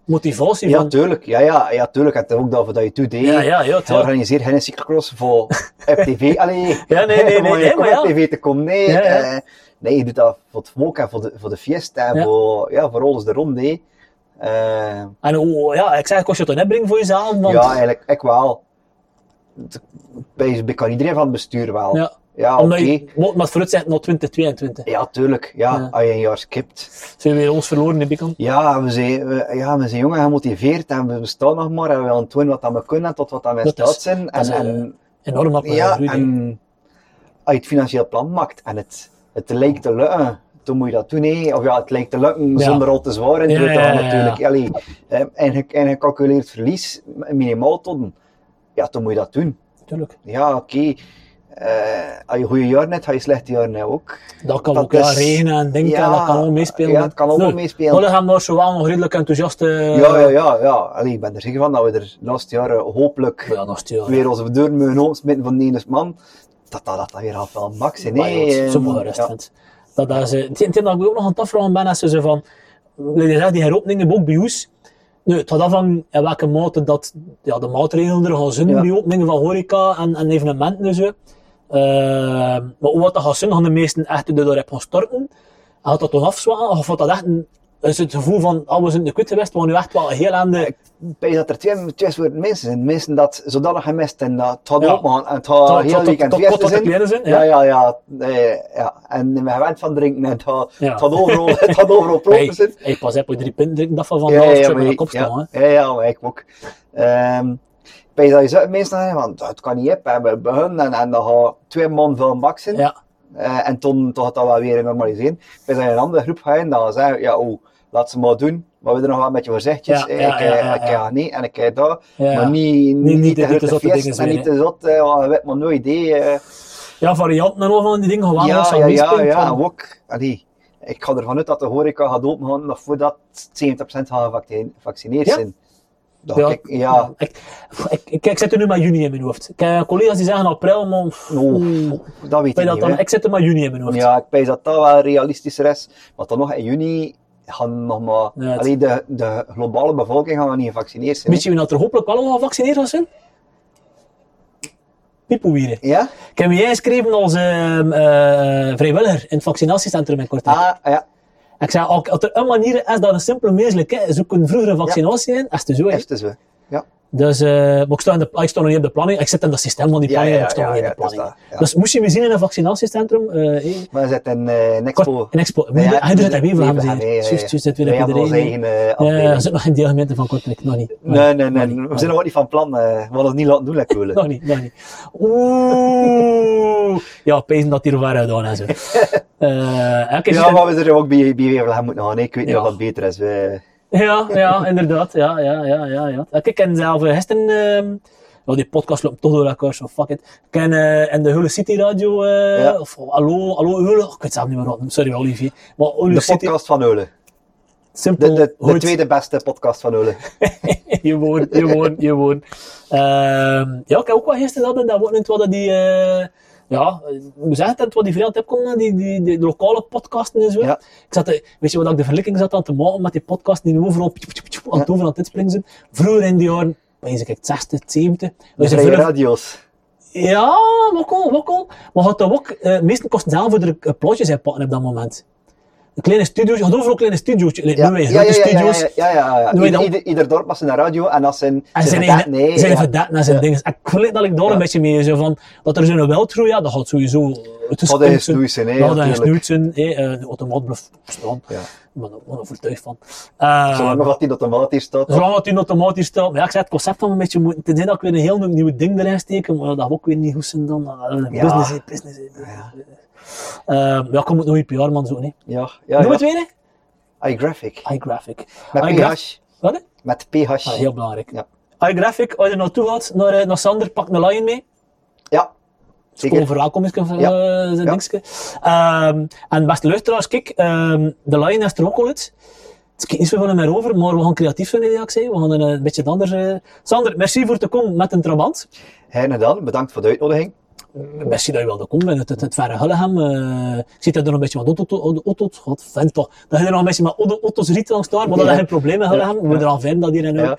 S1: motivatie.
S2: ja,
S1: van,
S2: tuurlijk. Ja, ja, ja, tuurlijk. En ook dat we dat je toe deed.
S1: ja, ja, ja,
S2: Hij
S1: tuurlijk.
S2: organiseert geen cyclocross
S1: [LAUGHS]
S2: voor FTV. Allee,
S1: Ja, nee, nee,
S2: [LAUGHS] om
S1: nee,
S2: aan je
S1: nee, maar ja.
S2: FTV te komen. Nee,
S1: Ja, ja.
S2: eh, nee, je doet dat voor het volk en voor de, voor de fiesta en
S1: Ja.
S2: voor, ja, voor alles de ronde. Eh
S1: En hoe- ja, ik zeg, kost je het een inbreng voor jezelf? Want,
S2: ja, eigenlijk, ik wel. Het- Bij, bij kan iedereen van het bestuur wel. Ja,
S1: ja, omdat
S2: oké.
S1: je moet maar vooruit zijn naar 2022.
S2: Ja, tuurlijk. Ja,
S1: Ja.
S2: als je een jaar skipt.
S1: Zijn we weer ons verloren in Bikant?
S2: Ja, we zijn, we, ja, we zijn jong en gemotiveerd en we bestaan nog maar en we willen doen wat dat we kunnen en tot wat dat we in
S1: Dat is-
S2: staat zijn.
S1: dat is,
S2: En,
S1: eh,
S2: en,
S1: Enorm dat we
S2: ja,
S1: groeien.
S2: en als je het financieel plan maakt en het, het lijkt te lukken, dan moet je dat doen. hè. Of ja, het lijkt te lukken
S1: Ja.
S2: zonder al te zwaar in
S1: Ja,
S2: te gaan
S1: ja, ja,
S2: natuurlijk. Allee, eh, en, ge- en gecalculeerd verlies, minimaal ton, ja, dan moet je dat doen.
S1: Tuurlijk.
S2: Ja, oké. Eh, als je goede jaren hebt, ga je slechte jaren hebben ook.
S1: Dat kan
S2: dat
S1: ook ja,
S2: is-
S1: regenen en denken,
S2: ja,
S1: en dat kan allemaal meespelen.
S2: ja, het kan allemaal meespelen.
S1: Hollegem was zo wel nog redelijk enthousiast. eh,
S2: Ja, ja, ja. ja. Allee, ik ben er zeker van dat we er laatst jaar eh, hopelijk
S1: Ja, nog steeds.
S2: weer onze deur mogen opsmitten van de ene man. Dat dat, dat, dat weer al wel max zijn.
S1: Maar joh,
S2: Nee,
S1: het is
S2: eh,
S1: sommige rust
S2: ja.
S1: vindt. Dat, dat ze, het het is dat ik ook nog aan het afvragen ben als ze zo van, je zegt die heropeningen ook bij ons. Nu, het gaat afhangen in welke mate dat, ja, de maatregelen er gaan zijn
S2: Ja.
S1: bij openingen van horeca en, en evenementen en zo. Ehm, maar hoe wat dat gaat zijn, gaan de meesten echt de deur op gaan storten. En gaat dat dan afzwakken? Of wordt dat echt een, is het gevoel van, ah, we zijn in de kut geweest, we gaan nu echt wel heel aan de...
S2: Ik denk dat er twee, twee soorten mensen zijn. Mensen dat zodanig gemist en dat het gaat
S1: Ja.
S2: opgaan en het gaat
S1: Tot-
S2: heel
S1: tot-
S2: weekend
S1: tot- tot-
S2: feesten
S1: tot de
S2: zijn.
S1: kleine zijn, ja.
S2: Ja, ja, ja. eh, ja. En we gewend van drinken en het gaat,
S1: Ja.
S2: het gaat overal, het gaat overal proper
S1: [LAUGHS] Hey,
S2: zijn.
S1: hey, pas op, je drie punten drinken, dat van van
S2: Ja,
S1: de
S2: ja,
S1: half
S2: ja,
S1: met
S2: maar
S1: de
S2: ik-
S1: kop staan.
S2: ja, ja, ja, maar ik ook. Ehm, ik denk dat je zo- mensen zeggen van, dat kan niet op, en we beginnen en, en dan gaan twee man veel max zijn.
S1: hè. Ja,
S2: Eh, en toen toen gaat dat wel weer normaliseren. Wij zijn in een andere groep gaan, dan zeggen we, ja, oh, laat ze maar doen. Maar we doen nog wel een beetje voorzichtig.
S1: Ja,
S2: Eh,
S1: ja,
S2: ik eh,
S1: ja, ja,
S2: ik eh,
S1: ja.
S2: nee en ik eh, dat.
S1: Ja.
S2: Maar niet,
S1: niet
S2: niet, niet
S1: de-
S2: te
S1: niet de
S2: grote
S1: zotte dingen
S2: feest en
S1: zijn,
S2: niet te zot. eh, want je weet maar nooit. eh, eh,
S1: ja, varianten en al van die dingen, gewoon
S2: ja,
S1: als
S2: ja, ja, ja. En ook, allee, ik ga ervan uit dat de horeca gaat opengaan nog voordat 70% gaan gevac- gevaccineerd
S1: Ja.
S2: zijn. Dat
S1: Ja.
S2: Ik, ja,
S1: Ik, ik, ik, ik zit er nu maar juni in mijn hoofd. Ik heb collega's die zeggen april, maar pff,
S2: no,
S1: oeh,
S2: dat weet
S1: weet
S2: ik
S1: dat
S2: niet.
S1: dan,
S2: hè.
S1: ik zit er maar juni in mijn hoofd.
S2: Ja, ik denk dat dat wel realistischer is. Maar dan nog in juni gaan nog maar...
S1: Ja, het-
S2: allee, de, de globale bevolking gaan nog niet gevaccineerd zijn.
S1: Weet je wie dat er hopelijk wel al gevaccineerd was zijn? Piepoewieren.
S2: hè. Ja?
S1: Ik heb me ingeschreven als ehm, eh, vrijwilliger in het vaccinatiecentrum in Kortrijk.
S2: Ah, ja.
S1: Ik zei, als als er een manier is dat een simpele menselijk is, zoek een vroegere vaccinatie in, is het zo. hè.
S2: Is het zo. Ja.
S1: Dus, eh, maar ik sta, in de, ik sta nog niet op de planning. Ik zit in dat systeem van die
S2: Ja,
S1: planning,
S2: ja,
S1: maar ik sta
S2: ja,
S1: nog niet
S2: ja,
S1: op de
S2: dat is
S1: planning.
S2: dat, ja.
S1: Dus moest je me zien in een vaccinatiecentrum, eh, eh,
S2: Maar we zitten eh, in
S1: Kort,
S2: Expo.
S1: een expo. Maar ja, hij doet het in Wevelgem,
S2: Nee,
S1: zeker?
S2: nee, nee,
S1: Juist, juist, dat weer
S2: Wij
S1: op
S2: hebben onze
S1: iedereen. Ja,
S2: eigen eh,
S1: ja,
S2: afdeling.
S1: er zit nog in deelgemeente van Kortrijk, nog niet. Nog
S2: Nee,
S1: niet,
S2: nee,
S1: nog
S2: nee.
S1: niet,
S2: We
S1: nog
S2: zijn nog niet van plan. eh, we hadden het niet laten doen,
S1: [LAUGHS]
S2: lekker
S1: niet, Nog niet, nog niet. Oeh. Ja, pezen dat hier waar gedaan
S2: [LAUGHS]
S1: en zo. Eh, oké,
S2: Ja,
S1: zit-
S2: maar we zijn ook bij, bij Wevelgem moeten gaan. hè. Ik weet niet
S1: Ja.
S2: of dat beter is. Eh, We,
S1: ja, ja, inderdaad. Ja, ja, ja, ja. ja. Ik ken zelf eh, gisteren... ehm, nou, die podcast loopt toch door elkaar, zo fuck it. Ik ken eh, in de Hulle City Radio, eh,
S2: Ja.
S1: of Hallo, Hallo Hulle, ik weet het zelf niet meer wat, sorry Olivier. Maar Hulle
S2: de
S1: City,
S2: podcast van Eulen.
S1: simpel,
S2: De, de, de
S1: goed.
S2: tweede beste podcast van Eulen.
S1: [LAUGHS] je woont, je woont, je woont. Ehm, ja, ik heb ook wel gisteren hadden dat woont wat dat die. eh, ja, eh, ik moet zeggen, dat het wat die veel aan het opkomen, hè, die, die, die lokale podcasten en zo.
S2: Ja.
S1: Ik zat, eh, weet je wat ik de verlikking zat aan te maken met die podcasten die nu overal pjep, pjep, pjep, aan het overal aan het inspringen zijn. Vroeger in die jaren, wees ik het 60, 70.
S2: De
S1: Dus
S2: vrije
S1: vroeger-
S2: radio's.
S1: ja, wakkel, wakkel. Maar had dat ook, eh meesten kosten zelf voor de eh, plotjes inpakken op dat moment. De kleine studio's, je had overal kleine studio's. Like, Nu weer grote studio's.
S2: ja, ja, ja, ja.
S1: Doe je
S2: Ieder,
S1: dan-
S2: ieder, ieder dorp was een radio en als zijn...
S1: En zijn
S2: verdat-
S1: even, zijn
S2: ja.
S1: even dat en zijn
S2: Ja.
S1: dingen. Ik wil dat ik daar een beetje mee zo van, dat er zo'n wildgroei, ja, dat gaat sowieso
S2: Had hij gesnoeid zijn, hè,
S1: Dat is
S2: natuurlijk.
S1: snoeid zijn, hè, eh, de automaat blijft staan.
S2: Ja.
S1: Ik ben er wel overtuigd van. Eh,
S2: Zolang nog wat die automaat hier staat.
S1: Zolang het in automatisch staat. Maar ja, ik zei het concept van een beetje moeten. Het is niet dat ik weer een heel nieuw- nieuw ding erin steken, maar dat we ook weer niet goed zijn dan. Ah,
S2: Ja.
S1: Business, hè, business. hè, business. Ehm, ja, ik moet nog een PR man zo, nee.
S2: Ja, ja,
S1: Noem
S2: ja.
S1: het weer,
S2: iGraphic.
S1: hè? iGraphic.
S2: Met
S1: iGraph-
S2: PH.
S1: Wat? hè?
S2: Met PH.
S1: Ah, heel belangrijk.
S2: Ja.
S1: iGraphic, als je naartoe gaat, naar, eh, naar Sander, pak een lion mee.
S2: Ja,
S1: Zeker.
S2: zeker.
S1: Overwelkom is van
S2: Ja.
S1: eh, zijn
S2: Ja.
S1: dingetje. Ehm, en beste luisteraars, kijk, ehm, de Lion is er ook al uit. Het is niet zoveel meer over, maar we gaan creatief zijn in de actie. We gaan een, eh, beetje anders. eh. Sander, merci voor te komen met een trabant.
S2: Hein en dan, bedankt voor de uitnodiging.
S1: Merci dat je wilde komen uit het, het, het verre Hullegem. eh ik zie dat er nog een beetje wat auto's, auto, auto, god, vent toch. Dat je er nog een beetje met auto- auto's riet langs daar, maar dat is
S2: Ja.
S1: geen probleem in Hullegem. We moeten er al vijf dat hier en
S2: Ja.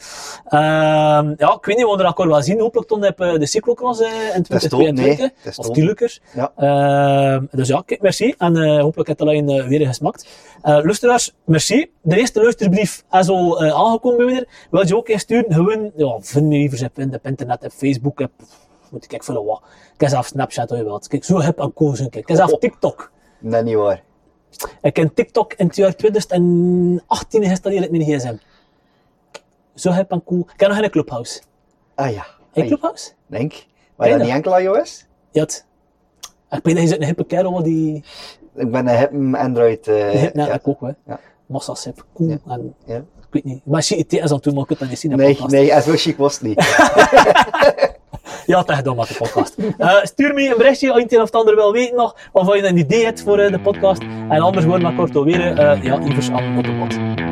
S1: ja. ja, ik weet niet, we gaan er akkoord wel zien. Hopelijk dan heb je de cyclocross eh in
S2: Het is dood, nee.
S1: 2022.
S2: Het is
S1: of
S2: dood.
S1: Tielukers.
S2: Ja.
S1: Ehm, dus ja, kijk, merci. En eh, hopelijk heeft de lijn eh, weer gesmakt. Eh luisteraars, merci. De eerste luisterbrief is al eh, aangekomen bij mij. Wil je ook insturen? Gewoon, ja, vind me liever op in- op internet, op Facebook, op, moet ik kijken voor wat. Kijk zelf Snapchat als je wilt. Kijk, zo heb ik een kozen. Kijk, kijk zelf
S2: Oh.
S1: TikTok.
S2: Nee, niet waar.
S1: Ik heb TikTok in het jaar 2018 geïnstalleerd met mijn gsm. Zo heb ik een cool. Ik heb nog geen clubhouse.
S2: Ah ja.
S1: Hey,
S2: Ai,
S1: clubhouse?
S2: Denk. Maar dat
S1: dat?
S2: niet enkel iOS?
S1: Ja. het. Ik ben een hippe kerel wat die...
S2: Ik ben een hippe Android. eh,
S1: Je hebt net
S2: ja.
S1: ook ook, hè.
S2: Ja.
S1: Massa's heb koe
S2: Ja.
S1: en
S2: Ja.
S1: ik weet niet. Maar shit, het is aan het doen, maar ik kan het niet zien. in de
S2: Nee,
S1: podcast.
S2: nee, en zo chic was het niet.
S1: Ja, het is gedaan met de podcast. Eh, stuur me een berichtje als je het een of het ander wil weten nog. Of als je een idee hebt voor eh, de podcast. En anders gewoon maar kort alweer. eh ja, Ivers aan de bot.